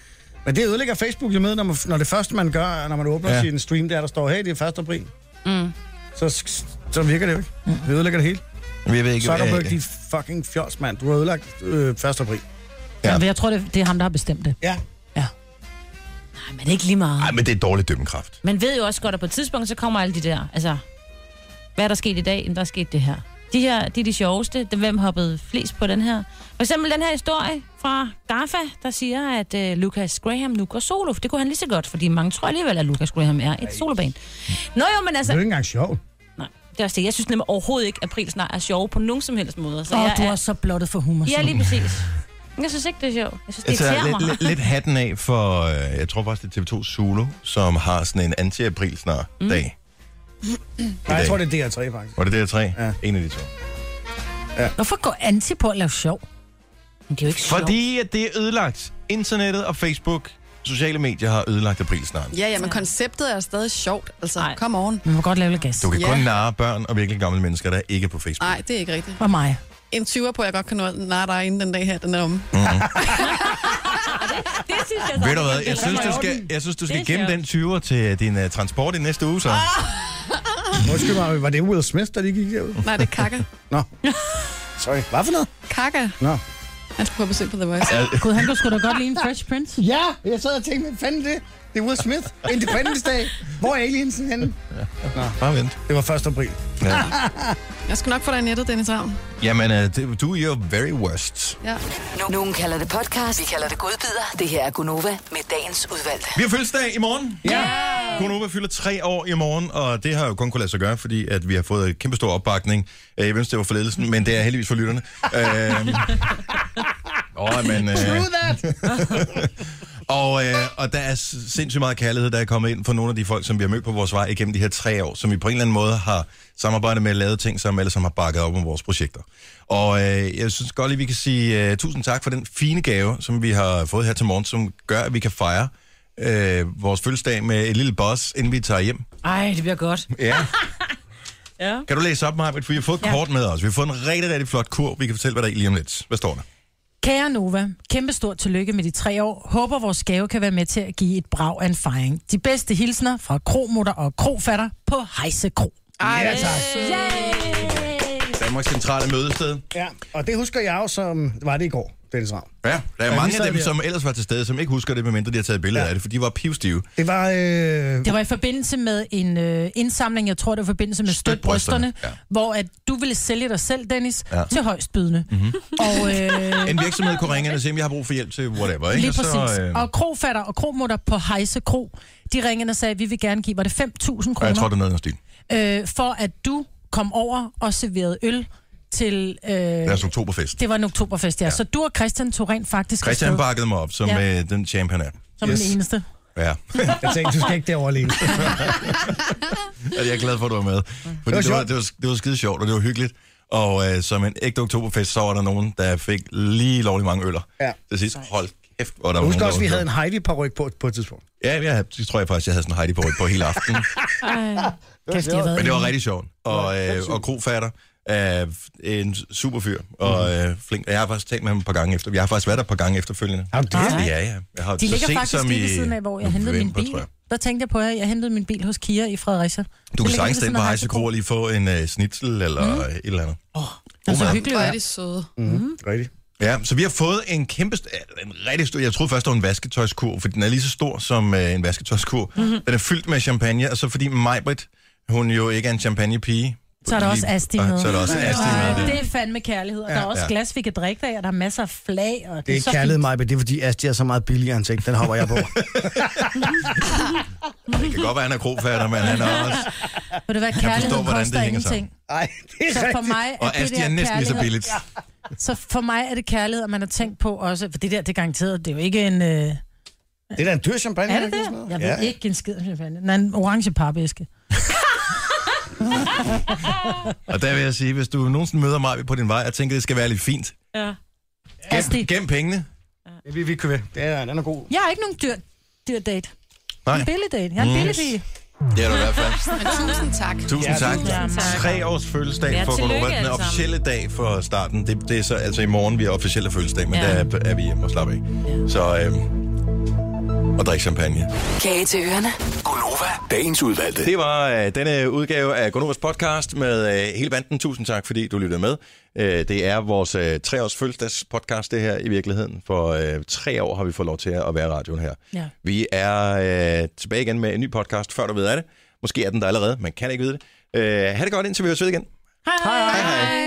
S2: Men det ødelægger Facebook jo med, når, man, når det første, man gør, når man åbner
S1: Ja.
S2: ja. sin stream, der, der står, hey, det er 1. april.
S3: Mm.
S2: Så, sk- så virker det jo ikke. Det ødelægger det hele.
S1: Men Jeg ved ikke, øh,
S2: Zuckerberg,
S1: hvad-
S2: din fucking fjols, mand. Du har ødelagt øh, 1. april.
S1: Ja.
S4: Ja. Men jeg tror, det, det er ham, der har bestemt det.
S2: Ja.
S3: Nej, men det er ikke lige meget.
S1: Ej, men det er dårlig dømmekraft.
S3: Man ved jo også godt, at på et tidspunkt, så kommer alle de der, altså, hvad er der sket i dag, Jamen, der er sket det her. De her, de er de sjoveste. Dem, Hvem hoppede flest på den her? For eksempel den her historie fra DAFA, der siger, at øh, Lucas Graham nu går solo. For det kunne han lige så godt, fordi mange tror alligevel, at Lucas Graham er et solobane. Nå jo, men
S2: Det
S3: altså...
S2: er jo ikke engang sjovt.
S3: Nej, det er også det. Jeg synes nemlig overhovedet ikke, at april snart er sjov på nogen som helst måde.
S4: Åh,
S3: jeg
S4: du er så blottet for humor.
S3: Ja, lige præcis. Jeg synes ikke, det er sjovt. Jeg synes, det
S1: Altså,
S3: irriterer mig.
S1: lidt, lidt, lidt hatten af for, øh, jeg tror faktisk, det er TV2 Zulu, som har sådan en anti-april snart mm. dag.
S2: Nej, jeg
S1: dag.
S2: tror, det er DR3, faktisk.
S1: Var det der tre? Ja. En af de to.
S4: Hvorfor går anti på at lave sjov?
S3: Det er jo ikke
S1: Fordi at det er ødelagt. Internettet og Facebook, sociale medier har ødelagt april snart.
S5: Ja, ja, men konceptet er stadig sjovt. Altså, Ej. come on.
S4: Man må godt lave lidt gas.
S1: Du kan
S5: Ja.
S1: kun narre børn og virkelig gamle mennesker, der ikke er på Facebook.
S5: Nej, det er ikke rigtigt.
S4: Og mig.
S5: En 20'er på, at jeg godt kan nå nej, dig inden den dag her, den er omme.
S3: det synes jeg
S1: Mhm. Ved du hvad, jeg synes, du skal, jeg synes, du skal gemme den 20'er til din uh, transport i næste uge, så.
S2: Undskyld mig, var det Will Smith, der lige gik derud?
S5: Nej, det er Kaka.
S2: Nå. Sorry. Hvad for noget?
S5: Kaka.
S2: Nå.
S5: Han skulle på besøg på The Voice.
S4: Gud, han kunne sgu da godt lide en Fresh Prince.
S2: Ja, jeg sad og tænkte, hvad fanden er det? Det er Will Smith. Independence Day. Hvor er aliensen henne?
S1: Nå. Bare vent.
S2: Det var 1. april.
S1: Ja.
S5: Jeg skal nok få dig i nettet, Dennis Ravn.
S1: Jamen, uh, det, du er jo very worst.
S5: Ja.
S7: Nogen kalder det podcast, vi kalder det godbider. Det her er Gunova med dagens udvalgte.
S1: Vi har fødselsdag i morgen. Ja. Konoba fylder tre år i morgen, og det har jo kun kunnet lade sig gøre, fordi at vi har fået en kæmpe stor opbakning. Øh, Jeg ønsker, det var for ledelsen, men det er heldigvis for lytterne. Øhm, Åh, men... øh,
S2: True that!
S1: og, øh, og der er s- sindssygt meget kærlighed, der er kommet ind for nogle af de folk, som vi har mødt på vores vej igennem de her tre år, som vi på en eller anden måde har samarbejdet med, lavet ting sammen, eller som har bakket op om vores projekter. Og øh, jeg synes godt lige, vi kan sige øh, tusind tak for den fine gave, som vi har fået her til morgen, som gør, at vi kan fejre øh, vores fødselsdag med et lille boss, inden vi tager hjem.
S3: Ej, det bliver godt.
S1: Ja.
S3: Ja.
S1: Kan du læse op, Marvind? For vi har fået et
S4: Ja.
S1: kort med os. Vi har fået en rigtig, rigtig flot kur. Vi kan fortælle, hvad der er i lige om lidt. Hvad står der?
S4: Kære Nova, kæmpe stort tillykke med de tre år. Håber vores gave kan være med til at give et brag af en fejring. De bedste hilsner fra kromutter og krofatter på Hejse Kro.
S1: Ej, ja, tak. Danmarks centrale mødested.
S2: Ja, og det husker jeg jo som... Var det i går, Dennis Ravn?
S1: Ja, der er
S2: Ja, vi
S1: mange
S2: sad
S1: af dem,
S2: der.
S1: som ellers var til stede, som ikke husker det, medmindre de har taget billeder af det, for de var pivstive.
S2: Det var... Øh...
S4: Det var i forbindelse med en øh, indsamling, jeg tror det var i forbindelse med Støt Brysterne, ja.
S1: Ja.
S4: hvor at du ville sælge dig selv, Dennis, ja.
S1: Ja.
S4: til højstbydende.
S1: Mm-hmm.
S4: Og, øh,
S1: En virksomhed kunne ringe ind og sige, at jeg har brug for hjælp til whatever. Ikke?
S4: Lige
S1: Og så,
S4: præcis.
S1: øh,
S4: Og krofatter og kromutter på Hejse Kro, de ringede og sagde, at vi vil gerne give, var det 5.000
S1: og jeg tror,
S4: kroner,
S1: det er noget i den stil.
S4: øh, for at du kom over og serverede øl til... Øh,
S1: Deres altså oktoberfest.
S4: Det var en oktoberfest, ja. ja. Så du og Christian tog rent faktisk
S1: Christian
S4: afsted
S1: bakkede mig op, som
S4: Ja.
S1: ja. øh, den champ, han er.
S4: som yes. den eneste.
S1: Ja.
S2: Jeg tænkte, du skal ikke derovre alene.
S1: Altså, jeg er glad for, at du var med. Fordi
S2: var
S1: det var,
S2: sjovt.
S1: det var, det var skide sjovt, og det var hyggeligt. Og øh, som en ægte oktoberfest, så var der nogen, der fik lige lovlig mange øller.
S2: Ja.
S1: Til sidst, hold kæft, hvor der
S2: Jeg
S1: var nogen,
S2: husker
S1: der
S2: også,
S1: var
S2: vi havde
S1: sjov.
S2: en heidi paryk på, på et tidspunkt.
S1: Ja, jeg, havde- det tror jeg faktisk, jeg havde sådan en Heidi på, på hele aftenen.
S4: Kæft, Altså, de har været
S1: Men det var
S4: inde.
S1: rigtig sjovt. Og, øh, og Krofatter er en super fyr,
S4: Mm.
S1: og øh, flink. Jeg har faktisk talt med ham et par gange efter. Jeg har faktisk været der et par gange efterfølgende.
S2: Har du
S4: det?
S1: Ja, ja. Jeg har
S4: De
S1: så
S4: ligger
S1: sent
S4: faktisk
S1: som
S4: lige
S1: i
S4: ved siden af, hvor jeg hentede min
S1: november,
S4: bil.
S1: tror jeg.
S4: Der tænkte jeg på, at jeg hentede min bil hos Kia i Fredericia.
S1: Du
S4: ligger
S1: kan
S4: lige ved
S1: sagtens
S4: siden
S1: den på
S4: af
S1: Hejsekro og lige få en øh, snitsel eller
S4: Mhm.
S1: øh, et eller andet.
S4: Det er så
S1: mad.
S4: hyggeligt.
S5: Hvor er
S4: hva'?
S5: de søde.
S1: Mm. Mhm.
S4: Mm.
S2: Mm-hmm. Rigtigt.
S1: Ja, så vi har fået en kæmpe, st- eller en rigtig stor, jeg troede først, det var en vasketøjskur, for den er lige så stor som øh, en vasketøjskur. Mm-hmm. Den er fyldt med champagne, og så fordi Majbrit, hun jo ikke er en champagnepige.
S4: Så er der også Asti med.
S1: Ah, Så er der også Asti med.
S4: Det er fandme kærlighed. Og
S1: Ja.
S4: der er også
S1: Ja.
S4: glas, vi kan drikke af, og der er masser af flag. Og det,
S2: Det er
S4: så
S2: ikke
S4: fint.
S2: kærlighed mig, men det er fordi Asti er så meget billigere end ting. Den hopper jeg på.
S1: Det kan godt være, han er krofatter, men han er også...
S4: Ved du hvad,
S1: forstår,
S4: kærligheden
S1: hvordan det
S4: koster
S1: hænger
S4: ingenting.
S2: Ej, det er
S4: Så for
S2: rigtigt.
S4: mig er
S1: Og
S4: det
S1: Asti
S4: der
S1: er næsten lige så
S4: kærlighed-
S1: billigt.
S4: Så for mig er det kærlighed, og man har tænkt på også, for det der, det er garanteret, det er jo ikke en... Øh, er
S2: Det er da en dyr champagne.
S4: det
S2: ikke? Sådan
S4: det?
S2: noget.
S4: Jeg ved
S2: Ja.
S4: ikke en skid om champagne. Den er en orange papæske.
S1: Og der vil jeg sige, hvis du nogensinde møder mig på din vej, og tænker, det skal være lidt fint,
S3: Ja.
S1: gem, gem pengene.
S2: Det vil vi ikke købe. Det er, den er god.
S4: Jeg er ikke nogen dyr, dyr date.
S1: Nej,
S4: En billig date. Jeg er en
S1: Mm.
S4: billig pige.
S1: det er du i hvert fald.
S5: Men tusind tak.
S1: Tusind
S2: Ja,
S1: tak.
S4: tusind tak.
S1: Tre års fødselsdag
S3: Ja,
S1: ja, for
S3: tillykke
S1: Gonova. Den
S3: alle sammen.
S1: officielle dag for starten. Det, det er så altså i morgen, vi er officielle fødselsdag, men
S3: Ja.
S1: ja. der er, er vi hjemme og slappe af. Ja. Så, øhm, og drikke champagne.
S7: Kage til ørerne.
S9: Gunova, dagens udvalgte.
S1: Det var øh, denne udgave af Gonovas podcast med øh, hele banden. Tusind tak, fordi du lyttede med. Øh, det er vores øh, treårs fødselsdagspodcast, det her i virkeligheden. For øh, tre år har vi fået lov til at være i radioen her.
S4: Ja.
S1: Vi er øh, tilbage igen med en ny podcast, før du ved af det. Måske er den der allerede, man kan ikke vide det. Øh, ha' det godt, indtil vi høres ved igen.
S4: Hej. hej.